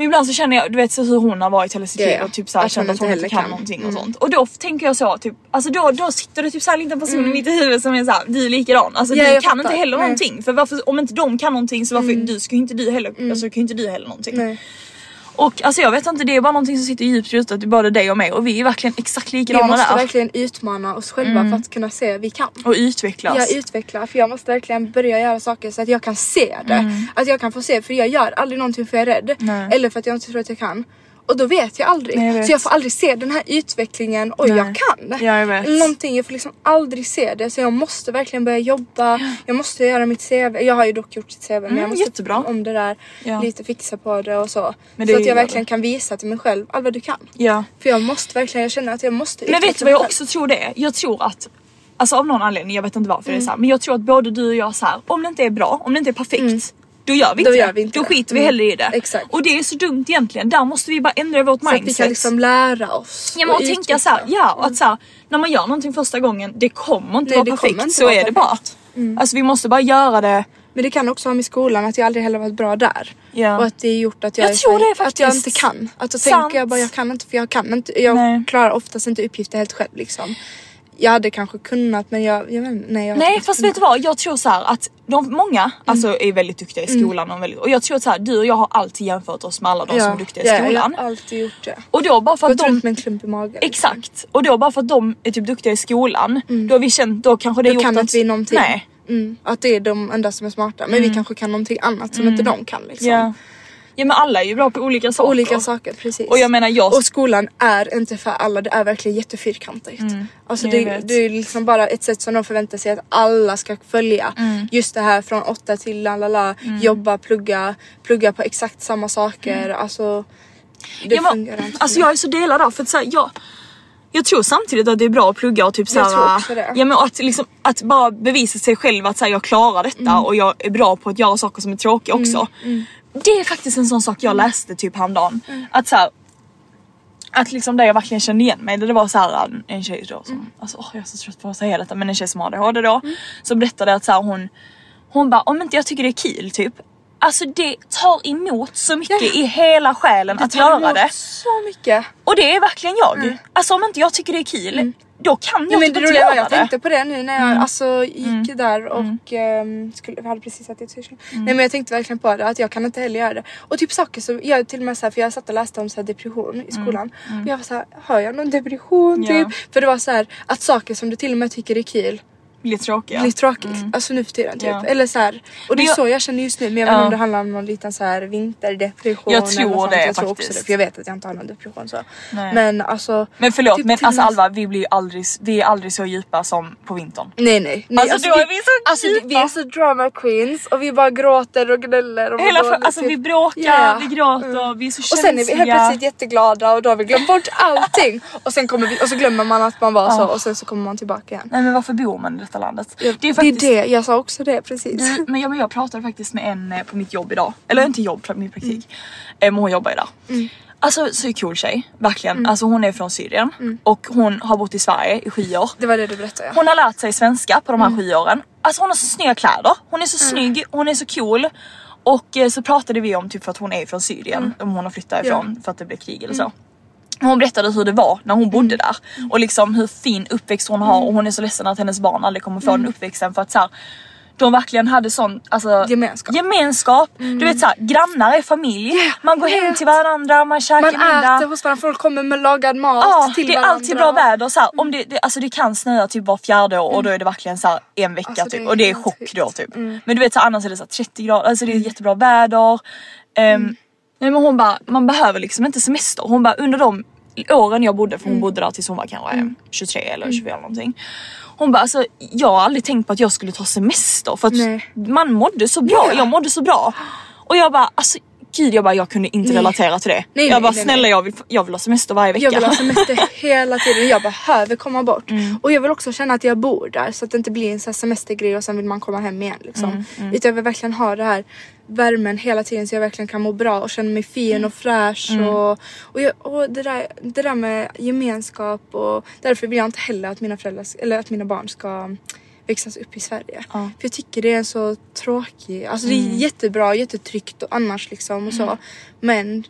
Men ibland så känner jag, du vet så hur hon har varit hela sitt Ja, liv ja. och typ såhär Att hon känt att inte hon inte heller kan, kan. någonting och sånt. Och då tänker jag så, typ, alltså då, då sitter det typ såhär en liten person i mitt huvud som är såhär, vi är likadana. Alltså Mm. Ja, vi kan jag fattar. inte heller Nej. Mm. någonting. För varför, om inte de kan någonting så varför du ska ju inte du heller, alltså, kan ju inte du heller någonting. Nej. Och alltså jag vet inte, det är bara någonting som sitter djupt i rutet, både dig och mig och vi är verkligen exakt Vi likadana måste där. verkligen utmana oss själva Mm. för att kunna se att vi kan. Och utvecklas. Jag utvecklar för jag måste verkligen börja göra saker så att jag kan se det. Att jag kan få se för jag gör aldrig någonting för jag är rädd. Mm. Nej. Eller för att jag inte tror att jag kan. Och då vet jag aldrig. Nej, jag vet. Så jag får aldrig se den här utvecklingen. Oj Nej. jag kan. Ja, jag vet. Någonting, jag får liksom aldrig se det. Så jag måste verkligen börja jobba. Jag måste göra mitt CV. Jag har ju dock gjort sitt CV men Mm, jag måste jättebra. om det där. Ja. Lite fixa på det och så. Men det så att gör jag verkligen du. kan visa till mig själv. Alva du kan. ja. För jag måste verkligen, jag känner att jag måste Men vet du utveckla vad mig jag själv. också tror det är? Jag tror att Alltså av någon anledning, jag vet inte varför Mm. det är så här, men jag tror att både du och jag så här, om det inte är bra, om det inte är perfekt, då gör vi inte Mm. Då det. gör vi inte då det. skiter vi Mm. hellre i det. Exakt. Och det är så dumt egentligen, där måste vi bara ändra vårt Så att vi mindset. kan liksom lära oss. Ja men och tänka utveckla. Mm. såhär, ja och att såhär, när man gör någonting första gången, det kommer inte Nej, vara det perfekt, kommer inte så vara Mm. är det bara. Alltså vi måste bara göra det. Men det kan också ha med skolan att jag aldrig heller varit bra där. Ja. Och att det är gjort att jag, Jag är så tror här- det att jag faktiskt. inte kan. Att då Sant. tänker jag bara jag kan inte för jag kan inte. Jag Nej. klarar oftast inte uppgifter helt själv liksom. Jag hade kanske kunnat men jag, jag vet inte, nej jag har Nej inte fast kunnat. vet du vad, jag tror så här att de, många Mm. alltså, är väldigt duktiga i skolan och, väldigt, och jag tror att så här, du och jag har alltid jämfört oss med alla de som är duktiga i ja, skolan. Jag har alltid gjort det. Och då bara för att Gått de runt med en klump i magen. Exakt! Och då bara för att de är typ duktiga i skolan, då har vi känt, då kanske det Mm. Då gjort kan att... inte vi någonting. Nej. Mm. Mm. Att det är de enda som är smarta men vi kanske kan någonting annat som inte de kan liksom. Ja. ja men alla är ju bra på olika saker. Olika saker precis. Och jag menar, jag- Och skolan är inte för alla, det är verkligen jättefyrkantigt. Alltså Mm. jag det, vet. det är liksom bara ett sätt som de förväntar sig att alla ska följa. Mm. Just det här från åtta till la la la, jobba, plugga, plugga på exakt samma saker. Alltså Det Mm. jag, var- fungerar inte. alltså jag är så delad där för att så här, jag, jag tror samtidigt att det är bra att plugga och typ så Jag här, tror också det. Ja, men att, liksom, att bara bevisa sig själv att så här, jag klarar detta Mm. och jag är bra på att göra saker som är tråkiga också. Det är faktiskt en sån sak Mm. jag läste typ häromdagen. Att så här, att liksom där jag verkligen kände igen mig, det var så här en, en tjej då som, Mm. alltså åh, jag är så trött på att säga detta, men en tjej som har ADHD då, som berättade att så här, hon, hon bara om inte jag tycker det är kul typ, alltså det tar emot så mycket i hela själen att tar göra emot det. så mycket. Och det är verkligen jag. Alltså om inte jag tycker det är kul, då kan jag Mm. men typ det inte roliga var jag göra det. tänkte på det nu när jag Mm. alltså, gick där och ehm, skulle, vi hade precis ätit sushi. Mm. Nej men jag tänkte verkligen på det att jag kan inte heller göra det. Och typ saker som jag till och med så här, för jag satt och läste om så här, depression i skolan och jag var så här, har jag någon depression Mm. Ja. typ? För det var så här att saker som du till och med tycker är kul Lite tråkiga. blir tråkigt. Alltså nu för tiden typ. Mm. Ja. Eller så här, och det är Men jag- så jag känner just nu men jag vet inte Ja. om det handlar om någon liten så här vinterdepression. Jag eller något tror sånt. det jag tror också faktiskt. det för jag vet att jag inte har någon depression så. Nej. Men alltså. Men förlåt typ men till och alltså med- Alva vi blir ju aldrig, vi är aldrig så djupa som på vintern. Nej nej. nej Alltså, då är vi så alltså, vi- vi djupa. är så drama queens och vi bara gråter och gnäller. Och mår Hela, för, dåligt, alltså typ. vi bråkar, Ja. Mm. vi gråter, vi är så Och sen är vi helt plötsligt jätteglada och då har vi glömt bort allting. och sen kommer vi och så glömmer man att man var så och sen så kommer man tillbaka igen. Nej men varför bor man i detta landet? Det är, det, jag sa också det precis. Du, men, jag, men jag pratade faktiskt med en eh, på mitt jobb idag. Eller Mm. inte jobb, för min praktik. Eh, Men hon jobbar ju där. Alltså så cool tjej, verkligen. Mm. Alltså hon är från Syrien och hon har bott i Sverige i sju år. Det var det du berättade ja. Hon har lärt sig svenska på de här Mm. sju åren. Alltså hon har så snygga kläder, hon är så snygg, hon är så cool. Och eh, så pratade vi om typ för att hon är från Syrien, Mm. om hon har flyttat ifrån för att det blev krig eller så. Hon berättade hur det var när hon Mm. bodde där och liksom hur fin uppväxt hon har och hon är så ledsen att hennes barn aldrig kommer få Mm. den uppväxten för att så här, de verkligen hade sån alltså, Gemenskap. Mm. gemenskap. Du vet såhär, grannar är familj. man går hem till varandra, man käkar Man middag. äter hos varandra, folk kommer med lagad mat Ja, till det är varandra. Mm. alltid bra väder. Så här, om det, det, alltså det kan snöa typ var fjärde år och då är det verkligen så här en vecka Alltså, det typ. är Och det är helt chock sjukt. Mm. då typ. Men du vet så här, annars är det så här 30 grader, alltså det är jättebra väder. Ehm, Mm. Nej men hon bara, man behöver liksom inte semester. Hon bara under de åren jag bodde, för Mm. hon bodde där tills hon var kanske 23 eller 24 eller någonting. Hon bara alltså jag har aldrig tänkt på att jag skulle ta semester för att Nej. man mådde så bra, Ja. jag mådde så bra. Och jag bara alltså gud jag bara jag kunde inte relatera till det. Nej, nej, jag bara nej, nej. snälla Jag, vill, jag vill ha semester varje vecka. Mm. Jag vill ha semester hela tiden. Jag behöver komma bort. Och jag vill också känna att jag bor där så att det inte blir en sån här semestergrej och sen vill man komma hem igen. Liksom. Mm, Utan jag vill verkligen ha det här värmen hela tiden så jag verkligen kan må bra och känna mig fin Mm. och fräsch. Och, och, jag, och det, där, det där med gemenskap och därför vill jag inte heller att mina, föräldrar, eller att mina barn ska växas upp i Sverige. För jag tycker det är en så tråkig, alltså det är Mm. jättebra, jättetryggt och annars liksom och så. Men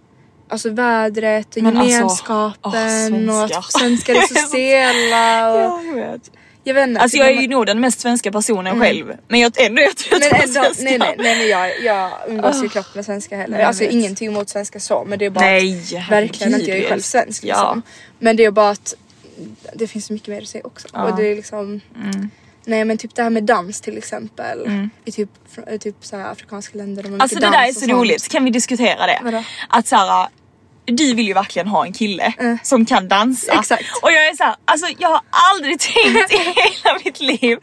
Alltså vädret och Men alltså, gemenskapen åh, och svenskar. att svenskar är så stela och jag vet. jag vet inte. typ Alltså jag är ju nog den mest svenska personen själv. Men jag ändå är jag trött Mm. men på ändå, svenskar. nej, nej, nej men jag, jag umgås ju knappt med svenskar heller. jag alltså vet. ingenting mot svenskar så men det är bara Nej, att, verkligen att jag är herregud. själv svensk Ja. liksom. Men det är bara att det finns så mycket mer att säga också. Och det är liksom Mm. Nej men typ det här med dans till exempel. I typ, fr- i typ så här afrikanska länder. De har Alltså det mycket där dans och är så sånt. roligt, kan vi diskutera det? Vadå? Att såhär, du vill ju verkligen ha en kille som kan dansa. Mm. Exakt. Och jag är såhär, alltså jag har aldrig tänkt i hela mitt liv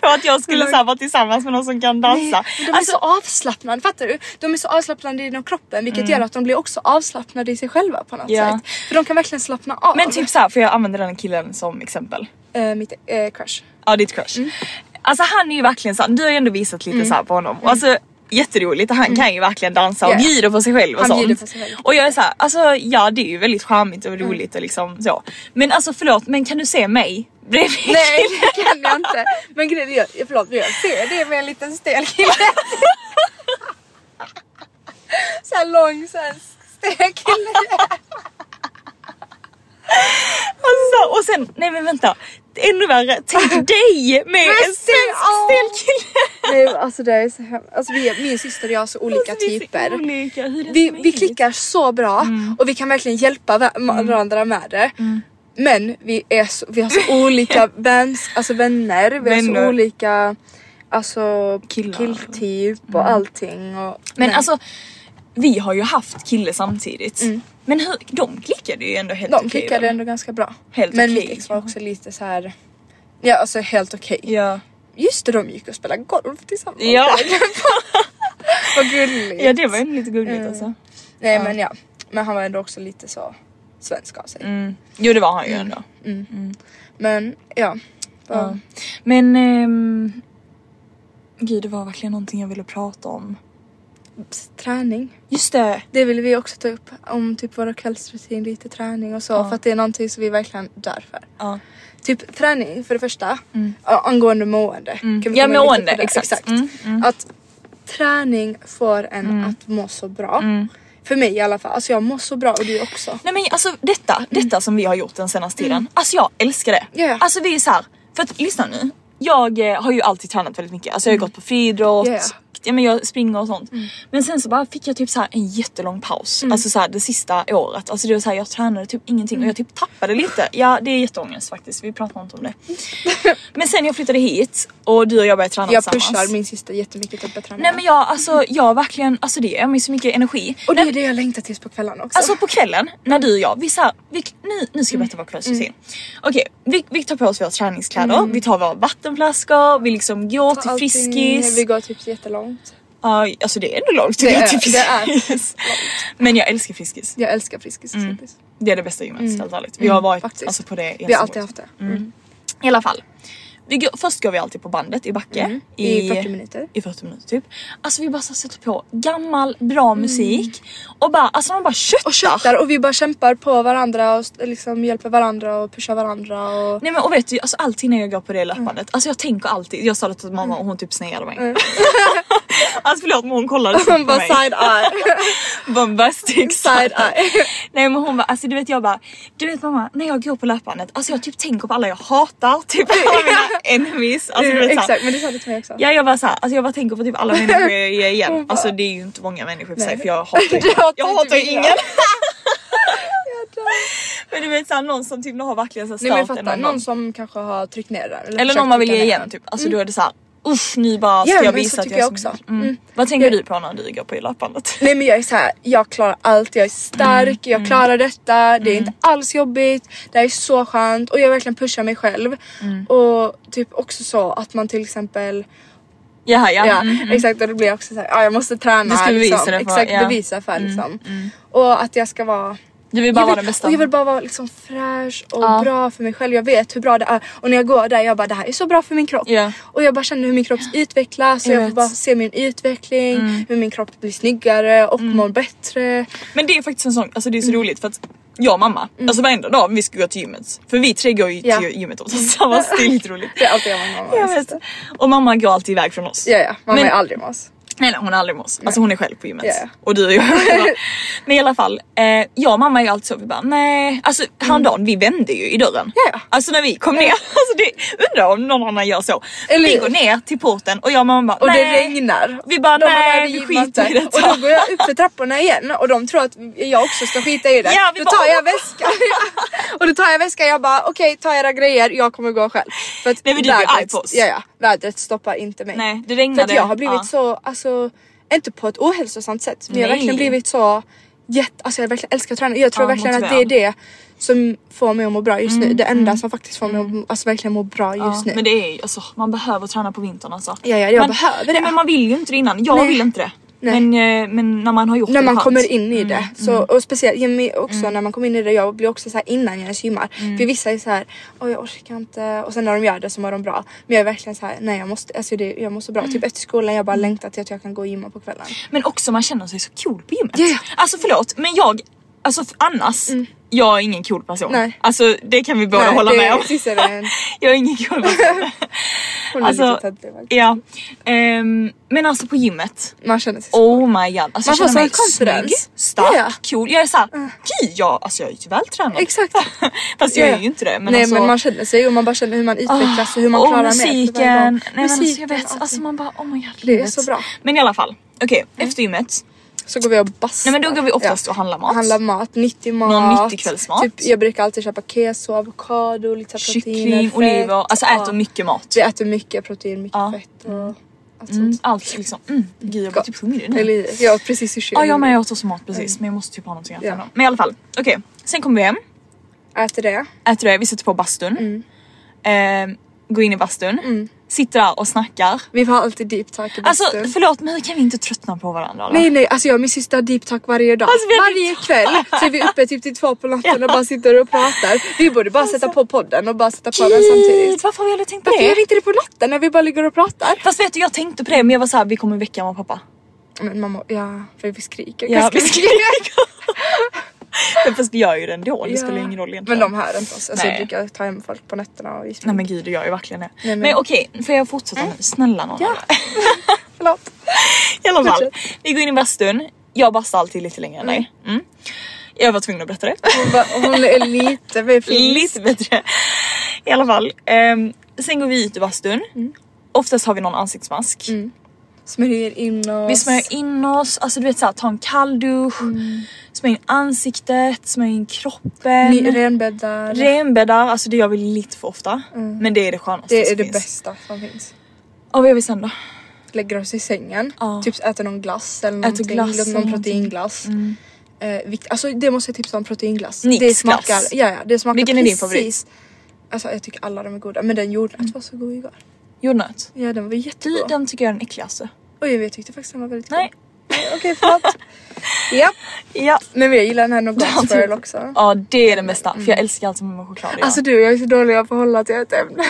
på att jag skulle såhär, vara tillsammans med någon som kan dansa. Men De är Alltså, så avslappnade, fattar du? De är så avslappnade inom kroppen vilket gör att de blir också avslappnade i sig själva på något Mm. Ja. sätt. För de kan verkligen slappna av. men typ såhär, får jag använda den killen som exempel? Eh, mitt eh, crush. Ja ditt crush. Mm. Alltså han är ju verkligen såhär, du har ju ändå visat lite så såhär på honom. Alltså jätteroligt, han kan ju verkligen dansa och Mm. Ja. bjuder på sig själv och Han sånt. bjuder på sig själv. Mm. Och jag är såhär, alltså ja det är ju väldigt charmigt och roligt och liksom så. Men alltså förlåt, men kan du se mig bredvid Nej det kan jag inte. Men grejen är, jag- förlåt men jag ser det med en liten stel kille. Såhär lång såhär stel kille. Alltså, och sen, nej men vänta. Ännu värre, tänk dig med en stäng svensk av! stel kille. Nej alltså det är så hemskt. Alltså vi, är- min syster och jag har så olika Alltså, vi är så typer. olika, hur är det vi, vi möjligt? klickar så bra Mm. och vi kan verkligen hjälpa va- varandra med det. Men vi, är så, vi har så olika väns, alltså vänner, vi har Vänner. så olika alltså, Killar. Mm. killtyp och allting. Och, Men nej. alltså, vi har ju haft kille samtidigt. Men hur, de klickade ju ändå helt Mm. de okej, klickade väl? ändå ganska bra. Helt Men okej. liksom. mitt ex var också lite så här. ja alltså helt okej. Ja. Just det, de gick och spelade golf tillsammans. Ja. Vad gulligt. ja det var ju lite gulligt alltså. Nej men ja. Men han var ändå också lite så svensk av Mm. sig. Jo det var han ju ändå. Men ja. Ja. Men... ehm, gud det var verkligen någonting jag ville prata om. Träning. Just det! Det ville vi också ta upp. Om typ våra kvällsrutin, lite träning och så. För att det är någonting som vi verkligen dör för. Ja. Mm. Typ träning för det första. Ja, angående mående. Kan vi Ja, komma in lite mående, på det? exakt. exakt. Mm, Att träning får en att må så bra. Mm. För mig i alla fall. Alltså jag mår så bra och du också. Nej men alltså detta, detta som vi har gjort den senaste tiden. Alltså jag älskar det. Mm. Ja, ja. Alltså vi är så här, för att lyssna nu. Jag eh, har ju alltid tränat väldigt mycket. Alltså jag har gått på friidrott. Mm. Ja, Mm. ja. Ja, men jag springer och sånt. Men sen så bara fick jag typ så här en jättelång paus. Mm. Alltså så här, det sista året. Alltså det var så här, jag tränade typ ingenting och jag Mm. typ tappade lite. Ja det är jätteångest faktiskt. Vi pratar inte om det. men sen jag flyttade hit och du och jag började träna Jag tillsammans. pushar min syster jättemycket till att börja träna. Nej men jag alltså jag verkligen, alltså det ger mig så mycket energi. Och det är det jag längtar tills på kvällarna också. Mm. Alltså på kvällen när du och jag, vi så här, vi, nu, nu ska jag berätta vad kvällsrutin. Okej, vi, vi tar på oss våra träningskläder, vi tar våra vattenflaskor, vi liksom går till Mm. Allting- Friskis. Vi går typ jättelångt. Ja, alltså det är ändå långt Det tycker jag är- till Friskis. det är Men jag älskar Friskis. Jag älskar Friskis Mm. och Friskis. Det är det bästa gymmet helt ärligt. Vi har varit Mm. faktiskt. alltså, på det Vi har alltid haft det. I alla fall. Vi går, först går vi alltid på bandet i Backe. Mm. I 40 minuter. I 40 minuter typ. Alltså vi bara så här sätter på gammal bra musik och bara, alltså man bara köttar. Mm. Och tjötar och vi bara kämpar på varandra och st- liksom hjälper varandra och pushar varandra och... Nej men och vet du, alltså alltid när jag går på Mm. det löpbandet, alltså jag tänker alltid, jag sa det till mamma och hon typ sneade mig. alltså förlåt men hon kollade så Man på Mm. bara mig. Alltså, side-eye. Hon bara side, Side-eye. Nej men hon bara, alltså du vet jag bara, du vet mamma när jag går på löpbandet, alltså jag typ tänker på alla jag hatar, typ alla mina enemies. Alltså, du vet, så här- Exakt, men det sa du till mig också. Ja jag bara såhär, alltså jag bara tänker på typ alla människor jag är igen. Alltså det är ju inte många människor för sig för jag hatar ju Du hatar Jag ju hatar ju typ ingen. ingen. Men du vet såhär någon som typ har verkligen såhär Nej men stört en fatta, annan. någon som kanske har tryckt ner den. Eller försökt någon man vill trycka ge ner igen den. typ. Alltså då är det såhär usch ni bara ska Mm. Ja, jag men visa så att tycker jag jag är så- också. Mm. Vad tänker du på när du går på löpbandet? Nej men jag är så här, jag klarar allt, jag är stark, Mm, jag klarar detta, det är inte alls jobbigt, det här är så skönt och jag verkligen pushar mig själv. Mm. Och typ också så att man till exempel, Jaha ja. ja Mm. exakt och då blir jag också såhär, ja jag måste träna. Du ska bevisa liksom. det för- Exakt, ja. Mm, bevisa för liksom. Och att jag ska vara Du vill bara jag vara vill, den bästa. Och jag vill bara vara liksom fräsch och bra för mig själv. Jag vet hur bra det är. Och när jag går där, jag bara det här är så bra för min kropp. Ja. Och jag bara känner hur min kropp utvecklas. Jag Jag, jag vet. Mm. får bara se min utveckling, hur min kropp blir snyggare och mår bättre. Men det är faktiskt en sån, alltså det är så Mm. roligt för att jag och mamma, alltså varenda dag om vi ska gå till gymmet. För vi tre går ju Ja. till gymmet också tillsammans, det är lite roligt. Det är alltid jag och mamma Jag och min vet. syster. Och mamma går alltid iväg från oss. Ja, ja. Mamma Men- är aldrig med oss. Nej, nej hon är aldrig med oss. Alltså hon är själv på gymmet. Ja, ja. Och du och jag. Men i alla fall, eh, jag och mamma är ju alltid så, vi bara nej. Alltså häromdagen vi vände ju i dörren. Mm. Ja, ja. Alltså när vi kom ner, alltså det, undrar om någon annan gör så. Eller vi hur? går ner till porten och jag och mamma bara Och nej. det regnar. Vi bara De bara, nej, vi det skiter gillar i inte. detta. Och då går jag upp för trapporna igen och de tror att jag också ska skita i det. Ja, vi då bara, tar jag "Åh." väskan. och då tar jag väskan jag bara okej ta era grejer jag kommer gå själv. För att Nej, men du är ju arg på oss. ja, ja, vädret stoppar inte mig. Nej, det för regnade. att jag har blivit Ja. så, alltså inte på ett ohälsosamt sätt men jag har Nej. verkligen blivit så jätte, alltså jag verkligen älskar att träna. Jag tror Ja, verkligen att det är motiverad. det som får mig att må bra just nu. Det enda som faktiskt får mig att alltså, verkligen må bra just Mm, Ja, nu. men det är ju, alltså, man behöver träna på vintern alltså. Ja, ja, jag man, behöver det. Nej, men man vill ju inte det innan. Jag Nej. vill inte det. Nej. Men, eh, men när man har gjort det När man skönt. Mm, kommer in i det. Så, och speciellt ja, men också när man kommer in i det. Jag blir också så här innan jag gymmar. Mm. För vissa är så här, Åh, jag orkar inte. Och sen när de gör det så mår de bra. Men jag är verkligen så här, nej jag måste, alltså det, jag måste Mm. bra. Typ efter skolan jag bara längtar till att jag kan gå och gymma på kvällen. Men också man känner sig så cool på gymmet. Ja, ja. Alltså förlåt men jag, alltså f- annars, jag är ingen cool person. Nej. Alltså det kan vi båda Nej, hålla det- med om. Cissi är en- jag är ingen cool person. Hon är alltså, lite tödlig faktiskt. ja. Ehm, men alltså på gymmet, Man känner sig så. oh my god. Alltså, Man jag får känner mig sån confidence. snygg, stark, Ja, ja. Mm. cool. Jag är såhär, gud jag, alltså, jag är ju vältränad. Exakt. Fast jag Ja, är ju inte det. Men Nej alltså, men man känner sig och man bara känner hur man utvecklas och hur man och klarar mer för varje musiken. gång. Nej, men alltså, jag Musiken, vet, alltså allting. man bara oh my god. Det är livet. så bra. Mm. Men i alla fall, okej efter gymmet. Så går vi och bastar. Nej, men då går vi oftast och handlar mat. Handlar mat, nyttig mat. Någon nyttig kvällsmat. Typ, jag brukar alltid köpa keso, avokado, lite så här proteiner, Kyckling, fett. oliver, alltså Ja. äter mycket mat. Vi äter mycket protein, mycket Ja. fett och allt Mm, sånt. allt liksom. Mm. Gud jag blir Gott. typ hungrig Det är nu. li- Jag åt precis sushi. Ja jag med, jag åt också mat precis men jag måste typ ha någonting att äta. Ja. ändå. Men i alla fall, okej. Sen kommer vi hem, Äter det. Mm. äter det, vi sätter på bastun. Eh, går Ehm, in i bastun. sitter där och snackar. Vi får alltid deep talk i Alltså Mm. bastun. förlåt men hur kan vi inte tröttna på varandra? eller? Nej nej, alltså jag och min syster har deep talk varje dag. Alltså, vi har varje kväll så är vi uppe typ till två på natten och bara sitter och pratar. Vi borde bara sätta på podden och bara sätta på den samtidigt. Gud, varför har vi aldrig tänkt på Varför gör vi det? inte det på natten när vi bara ligger och pratar? Fast vet du jag tänkte på det men jag var såhär vi kommer väcka mamma och pappa. Men mamma, ja för vi skriker. Ja, Ganska vi mycket. Men Fast vi gör ju det ändå, det Ja. spelar ju ingen roll egentligen. Men de hör inte oss. Alltså, jag Nej. brukar ta hem folk på nätterna och i smyg. Nej men gud det gör ju verkligen det. Nej, men- Mm. men okej, får jag fortsätta nu? Snälla någon. Ja. Förlåt. I alla fall, vi går in i bastun. Jag bastar alltid lite längre än dig. Mm. Jag var tvungen att berätta det. Hon, bara, hon är lite mer finsk. Lite bättre. I alla fall. ehm, sen går vi ut ur bastun. Mm. Oftast har vi någon ansiktsmask. Smörjer in oss. Vi smörjer in oss, alltså du vet såhär ta en kall dusch. Smörj in ansiktet, smörj in kroppen. Mm. Ni renbäddar. Renbäddar, alltså det gör vi lite för ofta. Men det är det skönaste Mm. det är som det finns. bästa som finns. Och vad gör vi sen då? Lägger oss i sängen. Ja. Typ äter någon glass eller någonting. glass Låt eller någon någonting. Mm. proteinglass. Eh, vikt, alltså det måste jag tipsa om proteinglass. Nix det smakar, glass. Ja, ja, det smakar Vilken är din precis, favorit? Mm. Alltså jag tycker alla de är goda men den jordnöt var så god igår. Jordnöt? Ja den var Du, jättegod. Typ, den tycker jag är den äckligaste. Oj jag tyckte faktiskt den var väldigt Nej. god. Nej. Okej förlåt. Japp. Ja. Men jag gillar den här nougat swirl också. Ja typ. det är den bästa för jag älskar allt som har med choklad att göra. Alltså du jag är så dålig på att hålla till ett ämne.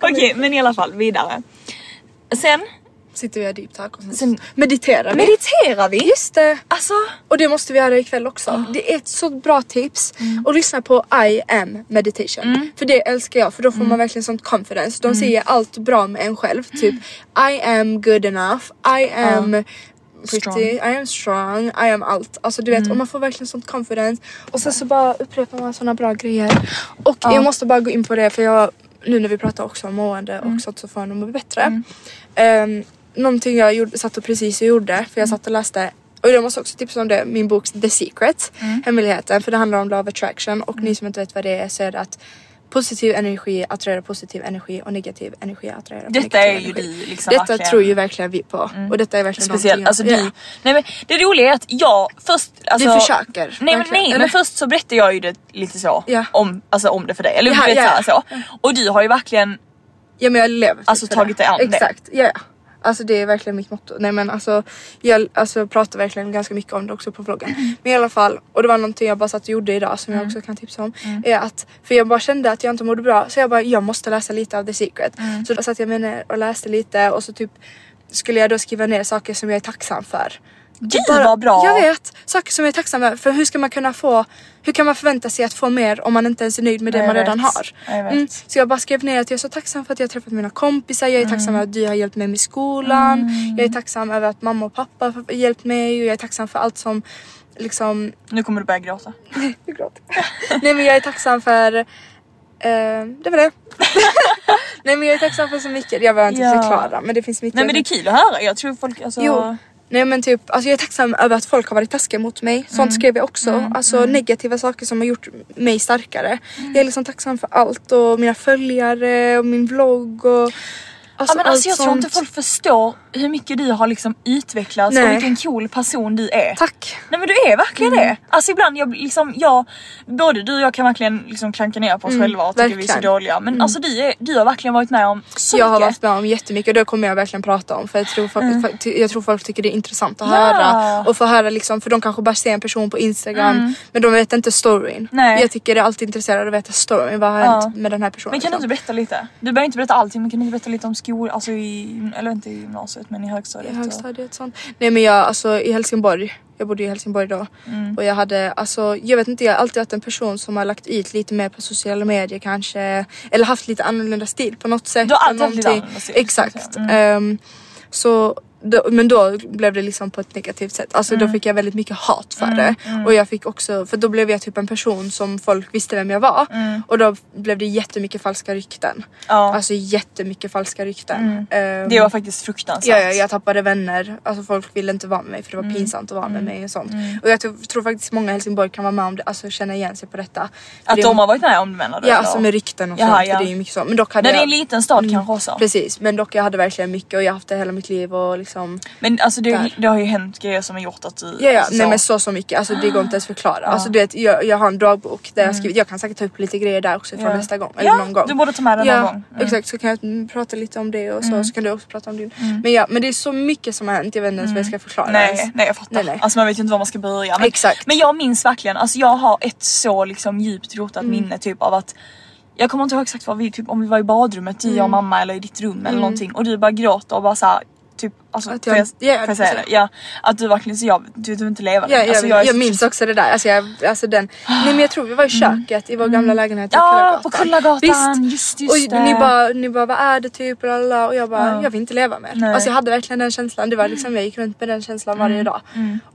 Okej men i alla fall vidare. Sen Sitter vi och gör deep talk och sen, Sen- mediterar vi. mediterar vi. Just det. Alltså Och det måste vi göra ikväll också. Det är ett så bra tips. Och lyssna på I am meditation. För det älskar jag för då får man verkligen sånt confidence. De säger allt bra med en själv. Typ I am good enough, I am pretty, Strong. I am strong, I am allt. Alltså du vet och man får verkligen sånt confidence. Och sen så bara upprepar man såna bra grejer. Och jag måste bara gå in på det för jag nu när vi pratar också om mående och sånt så får man må bättre. Ehm, någonting jag gjorde, satt och precis gjorde, för Mm. jag satt och läste och jag måste också tipsa om det, min bok The Secret, Mm. hemligheten, för det handlar om law of attraction och ni som inte vet vad det är så är det att positiv energi attraherar positiv energi och negativ energi attraherar detta negativ är ju energi. du liksom Detta verkligen- Mm. tror ju verkligen vi på och detta är verkligen Speciellt, alltså någonting du, jag- Ja. nej men det roliga är att jag först alltså, försöker, Nej men, verkligen, nej, eller? men först så berättade jag ju det lite så Ja. om, alltså, om det för dig, eller Ja, du vet ja, ja. såhär så. Och du har ju verkligen, Ja men jag lever typ Alltså, för tagit det. dig an det. Exakt, ja ja. Alltså det är verkligen mitt motto. Nej men alltså jag alltså, pratar verkligen ganska mycket om det också på Mm. vloggen. Men i alla fall, och det var någonting jag bara satt och gjorde idag som jag också kan tipsa om. Mm. Är att, för jag bara kände att jag inte mådde bra så jag bara jag måste läsa lite av The Secret. Mm. Så då satt jag mig ner och läste lite och så typ skulle jag då skriva ner saker som jag är tacksam för. gud vad bra! Jag vet! Saker som jag är tacksam för. För hur ska man kunna få, hur kan man förvänta sig att få mer om man inte ens är nöjd med det Nej, jag man redan vet. har? Mm. Jag vet. Så jag bara skrev ner att jag är så tacksam för att jag har träffat mina kompisar, jag är Mm. tacksam över att du har hjälpt mig med skolan, jag är tacksam över att mamma och pappa har hjälpt mig och jag är tacksam för allt som liksom... Nu kommer du börja gråta. Jag gråter. Nej men jag är tacksam för... eh, det var det. Nej men jag är tacksam för så mycket, jag behöver inte Ja. förklara men det finns mycket. Nej men det är kul att höra, jag tror folk alltså. Jo. Nej men typ, alltså jag är tacksam över att folk har varit taskiga mot mig. Sånt Mm. skrev jag också. alltså negativa saker som har gjort mig starkare. Mm. Jag är liksom tacksam för allt och mina följare och min vlogg och... alltså, Ja, men allt alltså jag tror inte sånt. folk förstår hur mycket du har liksom utvecklats Nej. och vilken cool person du är. Tack! Mm. Nej men du är verkligen det. Alltså ibland jag liksom jag, både du och jag kan verkligen liksom klanka ner på oss själva och tycka vi är så Mm, verkligen. Mm. dåliga. Men alltså du, är, du har verkligen varit med om så jag har mycket. Mm. varit med om jättemycket och det kommer jag verkligen prata om för jag tror, folk, för- jag tror folk tycker det är intressant att Ja. Mm. höra och få höra liksom för de kanske bara ser en person på instagram men de vet inte storyn. Nej. Jag tycker det är alltid intresserad att veta storyn, vad har Ja. hänt med den här personen? Men kan du liksom. inte berätta lite? Du behöver inte berätta allting men kan du inte berätta lite om skolan, alltså i, eller inte i gymnasiet men i I högstadiet? och- högstadiet sånt. Nej men jag alltså i Helsingborg, jag bodde i Helsingborg då Mm. och jag hade alltså jag vet inte jag har alltid varit en person som har lagt ut lite mer på sociala medier kanske eller haft lite annorlunda stil på något sätt. Du har alltid eller haft lite någonting. annorlunda stil, kan jag Exakt. Mm. Ehm, så då, men då blev det liksom på ett negativt sätt. Alltså Mm. då fick jag väldigt mycket hat för det. Och jag fick också, för då blev jag typ en person som folk visste vem jag var. Och då blev det jättemycket falska rykten. Mm. Ja. Mm. Alltså jättemycket falska rykten. Ehm, Det var faktiskt fruktansvärt. Ja, ja, jag tappade vänner. Alltså folk ville inte vara med mig för det Mm. var pinsamt att vara med mig och sånt. Och jag tror, tror faktiskt många i Helsingborg kan vara med om det, alltså känna igen sig på detta. För Att det är- de har varit med om det menar du? Ja, eller? alltså med rykten och Jaha, sånt. ja. För det är ju mycket sånt. Men dock hade När det är jag... Mm. en liten stad kanske också. Precis, men dock jag hade verkligen mycket och jag har haft det hela mitt liv och liksom... Men alltså det, Där. det har ju hänt grejer som har gjort att du... Ja, ja. alltså, Nej men så så mycket, alltså det går inte ens förklara. Ah. Alltså du vet jag, jag har en dagbok där jag skrivit, jag kan säkert ta upp lite grejer där också från Mm. Ja. nästa gång. Ja, Eller någon gång. du borde ta med den någon ja, gång. Mm. Exakt så kan jag mm, prata lite om det och så, så kan du också prata om din. Men ja men det är så mycket som har hänt, jag vet inte ens vad jag ska förklara. ens. Mm. Nej, nej jag fattar. Nej, nej. Alltså man vet ju inte var man ska börja. Men, Exakt. men jag minns verkligen, alltså jag har ett så liksom djupt rotat Mm. minne typ av att jag kommer inte ihåg exakt vad vi, typ om vi var i badrummet, du, jag Mm. och mamma eller i ditt rum eller någonting och du bara gråter och bara såhär typ, alltså Att får jag- jag, ja, du får jag får säga säga. det? Ja, att du verkligen, så jag, du, du inte lever Ja, jag, alltså, jag, är så- Mm. minns också det där. Alltså, jag, alltså den. Nej men jag tror vi var i köket i vår gamla lägenhet Ja, på Kullagatan. Visst. Just, just och det. ni bara, ni bara, vad är det typ? Och, alla, och jag bara, jag vill inte leva mer. Nej. Mm, Alltså jag hade verkligen den känslan. Det var liksom, jag gick runt med den känslan varje dag.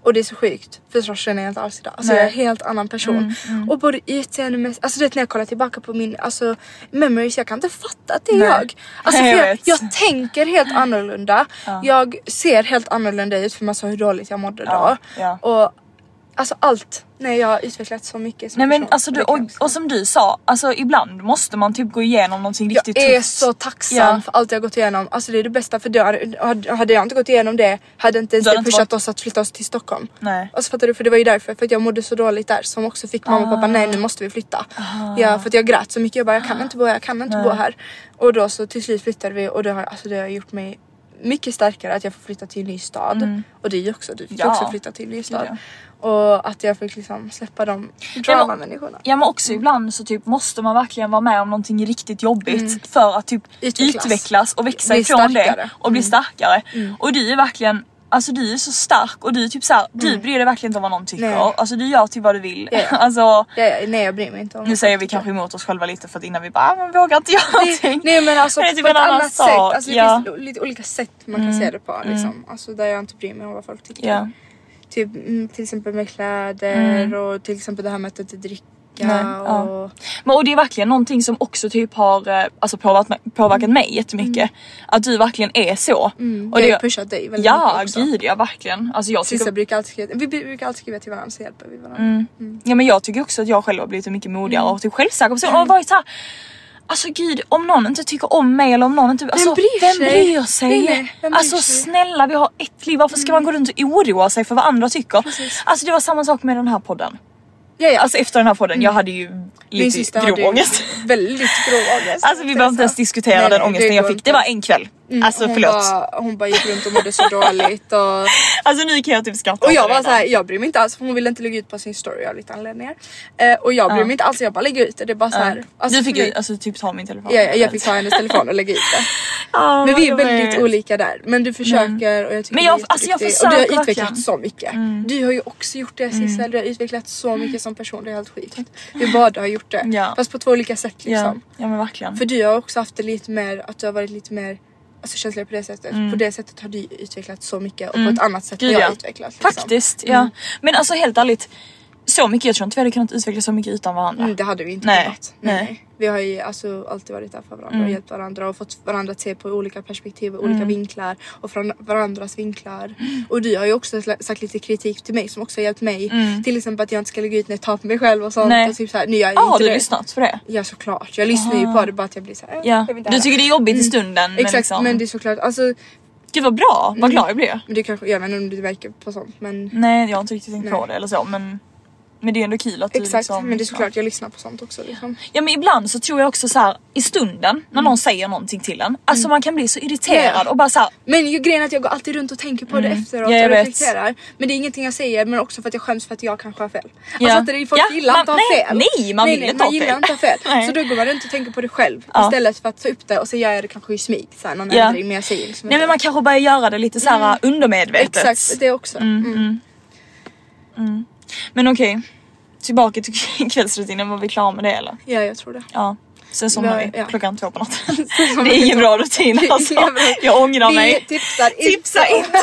Och det är så sjukt. För så känner jag inte alls idag. Alltså Nej. Mm, jag är en helt annan person. Och både utseendemässigt, alltså du vet när jag kollar tillbaka på min alltså, memories, jag kan inte fatta att det är Nej. jag. Alltså Nej, för jag jag, vet. jag tänker helt annorlunda. Jag ser helt annorlunda ut för man såg hur dåligt jag mådde Ja, då. ja. Och Alltså allt. Nej jag har utvecklats så mycket som Nej person. men liksom. alltså du, Det kan och, jag också och som du sa, alltså ibland måste man typ gå igenom någonting jag riktigt är tufft. så tacksam Ja. för allt jag har gått igenom. Alltså det är det bästa för då hade- hade, hade jag inte gått igenom det hade inte ens Då hade det inte pushat varit- oss att flytta oss till Stockholm. Nej. Alltså fattar du? För det var ju därför, för att jag mådde så dåligt där som också fick mamma och pappa nej Ah. nu måste vi flytta. Ja, för att jag grät så mycket, jag bara jag kan inte bo här, jag kan inte bo här. Och då så till slut flyttade vi och det har, alltså, det har gjort mig mycket starkare att jag får flytta till en ny stad. Och det är ju också, du fick Mm. Ja. också flytta till en ny stad. Ja. Och att jag fick liksom släppa de men- drama-människorna. Ja men Mm. också ibland så typ måste man verkligen vara med om någonting riktigt jobbigt för att typ Mm. Utvecklas. utvecklas, och växa Bli ifrån starkare. Mm. det och bli starkare. Och du är verkligen, alltså du är så stark och du är typ såhär, du bryr dig verkligen inte om vad någon tycker. Mm. Nej. Alltså du gör typ vad du vill. Ja, ja. alltså, Ja, ja, nej jag bryr mig inte om nu vad säger folk vi tycker. kanske emot oss själva lite för att innan vi bara, ah, men vågar inte göra någonting. Nej men alltså Det är typ på ett en annan annat sak, sätt. Alltså, det ja. Mm. finns lite olika sätt man kan se det på. Liksom. Alltså, där jag inte bryr mig om vad folk tycker. Ja. Mm. Typ, mm, till exempel med kläder och till exempel det här med att inte dricka. Nej, ja. och... Men, och det är verkligen någonting som också typ har eh, alltså, påverkat, påverkat Mm. mig jättemycket. Att du verkligen är så. Och och det har ju pushat dig väldigt Ja, mycket också. gud ja verkligen. Alltså, jag Sissa tycker, brukar alltid skriva, vi brukar alltid skriva till varandra så hjälper vi varandra. Mm. ja, men jag tycker också att jag själv har blivit en mycket Mm. modigare och typ självsäker person. Och varit såhär, alltså gud om någon inte tycker om mig eller om någon inte... Alltså, bryr vem sig? bryr sig? Nej, nej, vem bryr alltså sig? Mm. snälla vi har ett liv, varför ska man gå runt och oroa sig för vad andra tycker? Alltså det var samma sak med den här podden. Ja, ja. Alltså efter den här podden, jag hade ju Mm. Min lite syster hade grov ju ångest. väldigt grov ångest. Alltså vi behöver inte ens diskutera Nej, den nej, ångesten jag går Mm, fick. Det var en kväll. alltså hon förlåt. Bara, hon bara gick runt och mådde så dåligt och Alltså nu kan jag typ skratta. Och jag åt det var redan. såhär, jag bryr mig inte alls för hon ville inte lägga ut på sin story av lite anledningar. Eh, och jag bryr mig inte alls, jag bara lägger ut det. Det är bara såhär. alltså, du fick för ju mig- alltså, typ ta min telefon. Ja, ja, jag fick ta hennes telefon och lägga ut det. Ja, Men vi är jag väldigt vet. olika där. Men du försöker och jag tycker Men jag- du är alltså, jag jätteduktig. Och du försöker har utvecklats verkligen. Mm. så mycket. Du har ju också gjort det Sissel, du har utvecklats så mycket som person. Det är helt sjukt. Vi båda har gjort det. Ja. Fast på två olika sätt liksom. Ja, ja men verkligen. För du har också haft det lite mer, att du har varit lite mer alltså, känslig på det sättet. På det sättet har du utvecklats så mycket och på ett annat sätt Mm. Gud, har ja. jag utvecklats. liksom. Faktiskt ja. Men alltså helt ärligt. Så mycket, jag tror inte vi hade kunnat utveckla så mycket utan varandra. Mm, det hade vi inte Nej, kunnat. Nej. nej. Mm. nej. Vi har ju alltså alltid varit där för varandra och hjälpt varandra och fått varandra att se på olika perspektiv och olika vinklar och från varandras vinklar. Och du har ju också sla- sagt lite kritik till mig som också har hjälpt mig. Till exempel att jag inte ska lägga ut när jag tar på mig själv och sånt. Mm. Nej. Och typ så här, nu gör jag Ja, har inte du det. lyssnat på det? Ja såklart, jag lyssnar ju på det bara att jag blir såhär. Ja. Du tycker det är jobbigt i stunden men Mm. Exakt liksom. men det är såklart, alltså Gud vad bra, vad glad jag blev. men det kanske, jag vet inte om du märker på sånt men Nej jag har inte riktigt tänkt Nej. på det eller så men. Men det är ändå kul att du Exakt, liksom. men det är såklart jag lyssnar på sånt också liksom. Ja men ibland så tror jag också så här i stunden när någon säger någonting till en. Alltså man kan bli så irriterad Mm. Ja, Mm. ja. och bara så här, Men ju, grejen är att jag går alltid runt och tänker på det efteråt Mm. Ja, jag och vet. reflekterar. Men det är ingenting jag säger men också för att jag skäms för att jag kanske har fel. Ja. Alltså att det är folk Ja, gillar man- inte att ha nej, fel. nej, man vill inte man ha fel. gillar inte att ha fel. Nej. så då går man runt och tänker på det själv Ja. istället för att ta upp det och så gör jag det kanske i smyg. Så här, någon Ja. ändring men jag säger liksom Nej men man kanske börjar göra det lite såhär undermedvetet. Mm. Exakt, det också. Mm. Men okej, tillbaka till kvällsrutinen. Var vi klara med det eller? Ja jag tror det. Ja. Sen somnar Ja, vi ja. klockan två på natten. det är ingen bra rutin Det är alltså. ingen bra- Jag ångrar Vi mig. tipsar inte Tipsa om- inte.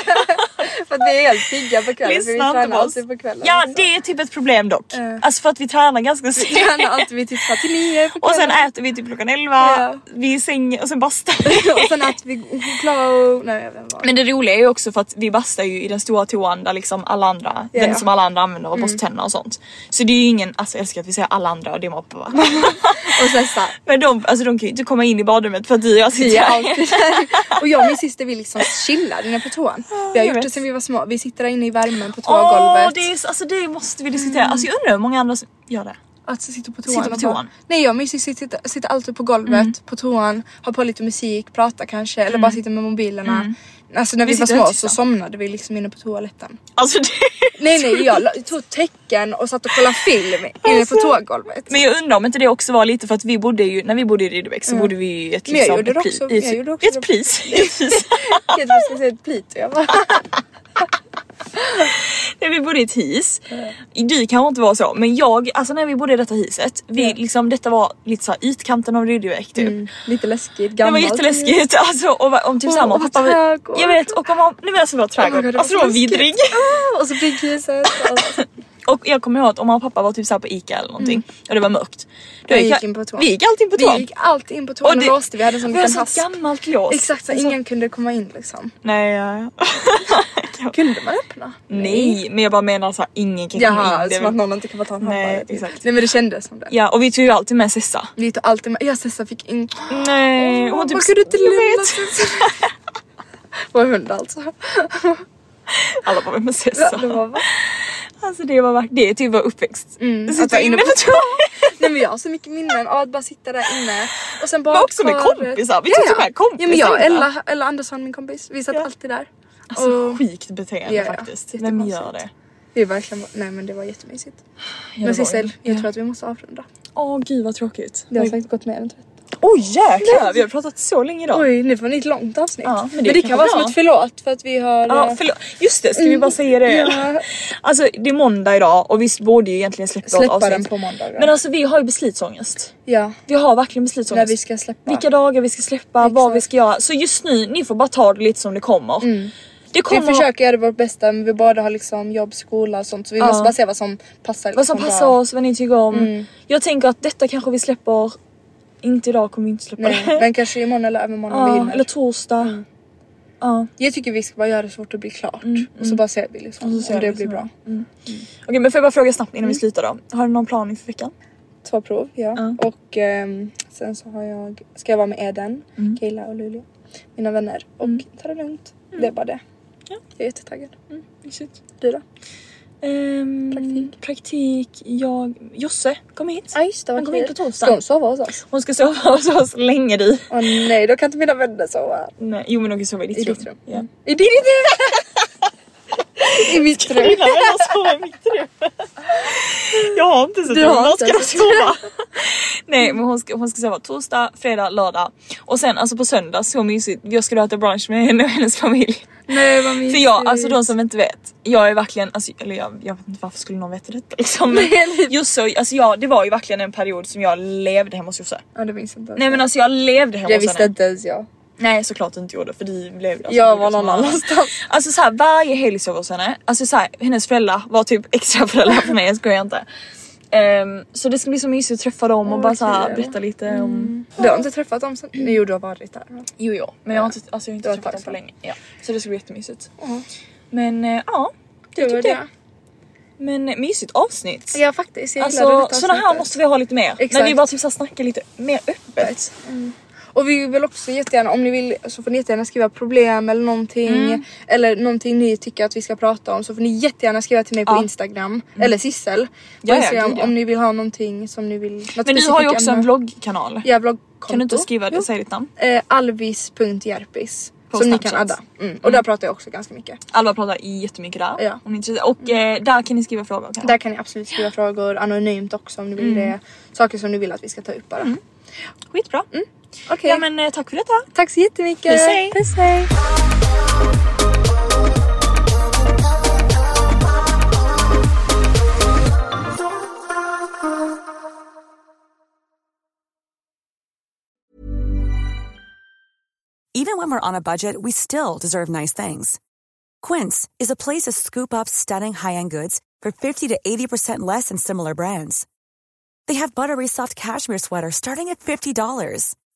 För att vi är helt pigga på kvällen. för vi Lyssna inte tränar på oss. alltid på kvällen. Ja så. det är typ ett problem dock. Eh. Alltså för att vi tränar ganska Vi tränar sent. alltid vid typ kvart till nio på Och sen kvällen. äter vi typ klockan 11, Ja. vi är i sängen och sen bastar vi. Och sen att vi klarar och... Nej jag vet inte vad. Men det roliga är ju också för att vi bastar ju i den stora toan där liksom alla andra, Ja, Mm. den ja. som alla andra använder och borstar tänderna och sånt. Så det är ju ingen, alltså jag älskar att vi säger alla andra och det är moppa va? Och sen såhär. Men de, alltså de kan ju inte komma in i badrummet för att du och jag sitter Vi är här. alltid där. Och jag och min syster vi liksom chillar inne på toan. Vi har jag gjort det vet. sen vi var små. Vi sitter där inne i värmen på Åh, toagolvet. det, är, så- alltså det måste vi diskutera. Alltså jag undrar hur många andra som gör det. Att sitta på Sitta på och toan. bara- Mm. Nej jag och min syster sitter, sitter alltid på golvet, på toan, har på lite musik, pratar kanske eller bara sitter med mobilerna. Alltså när vi, Mm. var Vi sitter små helt så tysta. somnade vi liksom inne på toaletten. Alltså det... Nej nej jag la- tog tecken och satt och kollade film inne på Alltså. toagolvet. Men jag undrar om inte det också var lite för att vi bodde ju, när vi bodde i Rydebäck så bodde vi ju i ett Mm. Men jag liksom, gjorde det ett också. pri- i ett- Jag gjorde också i det. ett pris. I ett pris. Jag trodde du skulle säga ett plit och jag bara när vi bodde i ett his. Du kanske inte var så men jag, alltså när vi bodde i detta hiset, vi, liksom, detta var lite såhär ytkanten av Rydebäck typ. lite läskigt, Det var Mm. gammalt. jätteläskigt alltså och va- om typ Åh, samma och pappa trädgård. Jag vet och om nej men alltså vår Oh my trädgård, God, det alltså det var läskigt. vidrig. Ah, och så prickhuset. och- Och jag kommer ihåg att om mamma och pappa var typ såhär på Ica eller någonting och det var mörkt. Då Vi Mm. gick in på toan. Vi gick alltid in på Vi toan. gick alltid in på toan och det- låste. Vi hade en sån vi hade liten sånt hasp. gammalt lås. Exakt så En sån- ingen kunde komma in liksom. Nej, ja, ja. Kunde man öppna? Nej, men jag bara menar såhär ingen kan komma Jaha, in. Det är som att väl- någon inte kan få ta en Nej, hammare. typ. exakt. Nej men det kändes som det. Ja och vi tog ju alltid med Sessa. Vi tog alltid med, jag Sessa fick in... Nej, Åh, hon typ... man kunde inte Jag lämna vet. Sessa. Vår hund alltså. Alla bara vem är Ja, Sessa? det var, va? Alltså det var verkligen, det är typ vår uppväxt. Mm, att Sitta vara inne inne på på toan. Nej men jag har så mycket minnen av att bara sitta där inne. Och sen Men också med badkaret. kompisar, vi tog ja, ju med kompisar Ja men jag och in där. Ella, Ella Andersson min kompis, vi satt Ja. alltid där. Alltså och sjukt beteende Ja, ja. faktiskt. Vem gör det? Jättekonstigt. vi verkligen, bara- nej men det var jättemysigt. Ja, Men det var Sissel, ju- jag tror att vi måste avrunda. Åh gud vad tråkigt. Det har Oj. säkert gått mer än 30. Oj jäklar, vi har pratat så länge idag. Oj, nu får ni ett långt avsnitt. Ja, men det, kan vara som bra. ett förlåt för att vi har... Ja eh, förlåt, just det ska vi bara säga det? Mm. Ja. Alltså det är måndag idag och vi borde ju egentligen släppa, vårt Släppa avsnitt. den på måndag, ja. Men alltså vi har ju beslutsångest. ja. Vi har verkligen När beslutsångest. vi ska släppa. Vilka dagar vi ska släppa, vad Exakt. Mm. vi ska göra. Så just nu, ni får bara ta det lite som det kommer. Det Vi kommer försöker göra vårt bästa men vi båda har liksom jobb, skola och sånt så vi måste bara se vad som passar. vad som liksom passar bra. Mm. oss, vad ni tycker om. Jag tänker att detta kanske vi släpper, inte idag kommer vi inte släppa Nej, det. men kanske imorgon eller övermorgon om vi ja, hinner. eller torsdag. Mm. Ja. Jag tycker vi ska bara göra det så fort det blir klart Mm, och så bara ser vi liksom, ser om vi det liksom. blir bra. Mm. Okej men får jag bara fråga snabbt innan vi slutar då. Har du någon plan inför veckan? Två prov, ja. Och ehm, sen så har jag, ska jag vara med Eden, Mm. Kayla och Luleå. Mina vänner. Och ta det lugnt. Det är bara det. Mm. Ja. Jag är jättetaggad. Exakt. Du då? praktik. Ehm, Praktik, jag, Josse kommer hit. Ja just det, Han kommer in på torsdag. Ska hon sova hos oss? Hon ska sova hos oss länge du. Åh nej, då kan inte mina vänner sova. Nej, jo men hon kan sova i ditt I rum. ditt rum. Ja. I ditt I mitt rum. Mina vänner sover i mitt rum. Jag har inte sett Du har hur inte ska de sett. sova. Nej men hon ska, hon ska sova torsdag, fredag, lördag och sen alltså på söndag så mysigt. Jag skulle äta brunch med henne och hennes familj. Nej vad mysigt. För jag, alltså de som inte vet, jag är verkligen, alltså, eller jag, jag vet inte varför skulle någon veta detta liksom. Men Josse, och- alltså jag, det var ju verkligen en period som jag levde hemma hos Josse. Ja det minns jag inte. Nej men alltså jag levde hemma det hos visste henne. inte ens jag. Nej såklart du inte gjorde för du blev alltså, Jag du var som någon annanstans. Alltså såhär varje helg sov jag hos henne, alltså såhär hennes föräldrar var typ extra föräldrar för mig, jag skojar inte. Ehm, så det ska bli så mysigt att träffa dem och Åh, bara vad Mm. såhär kul. berätta lite om... Du har inte träffat dem sen? Nej, Jo du har varit där. va? Mm. Jo jo, men jag har inte, alltså, jag har Det var inte ett träffat tag Mm. dem på sedan. länge. Ja. Så det ska bli jättemysigt. Men eh, ja, Det var typ det. men eh, mysigt avsnitt. Ja faktiskt, jag gillade Alltså detta såna här avsnittet. måste vi ha lite mer. När Exakt. vi bara typ så här snackar lite mer öppet. Och vi vill också jättegärna, om ni vill så får ni jättegärna skriva problem eller någonting. Mm. Eller någonting ni tycker att vi ska prata om så får ni jättegärna skriva till mig på Ja. Instagram, Instagram. Eller Sissel. På Ja, ja, Instagram gud, ja. om ni vill ha någonting som ni vill. något Men du har ju specifikt också en ämne. vloggkanal. Ja, bloggkonto. Kan du inte skriva det, Jo. säg ditt namn. Eh, Alvis.jerpis. På Som ni Snapchat. kan adda. Mm. Och där pratar jag också ganska mycket. Alva pratar jättemycket där. Ja. Om ni är intresserade. Och eh, där kan ni skriva frågor. kanske. Där kan ni absolut skriva frågor anonymt också om ni Mm. vill det. Saker som ni vill att vi ska ta upp bara. Skitbra. Okej, Mm. Ja men eh, tack för detta. tack så jättemycket. Puss, hej. Puss hej. Even when we're on a budget, we still deserve nice things. Quince is a place to scoop up stunning high-end goods for 50 to 80% less than similar brands. They have buttery soft cashmere sweaters starting at $50,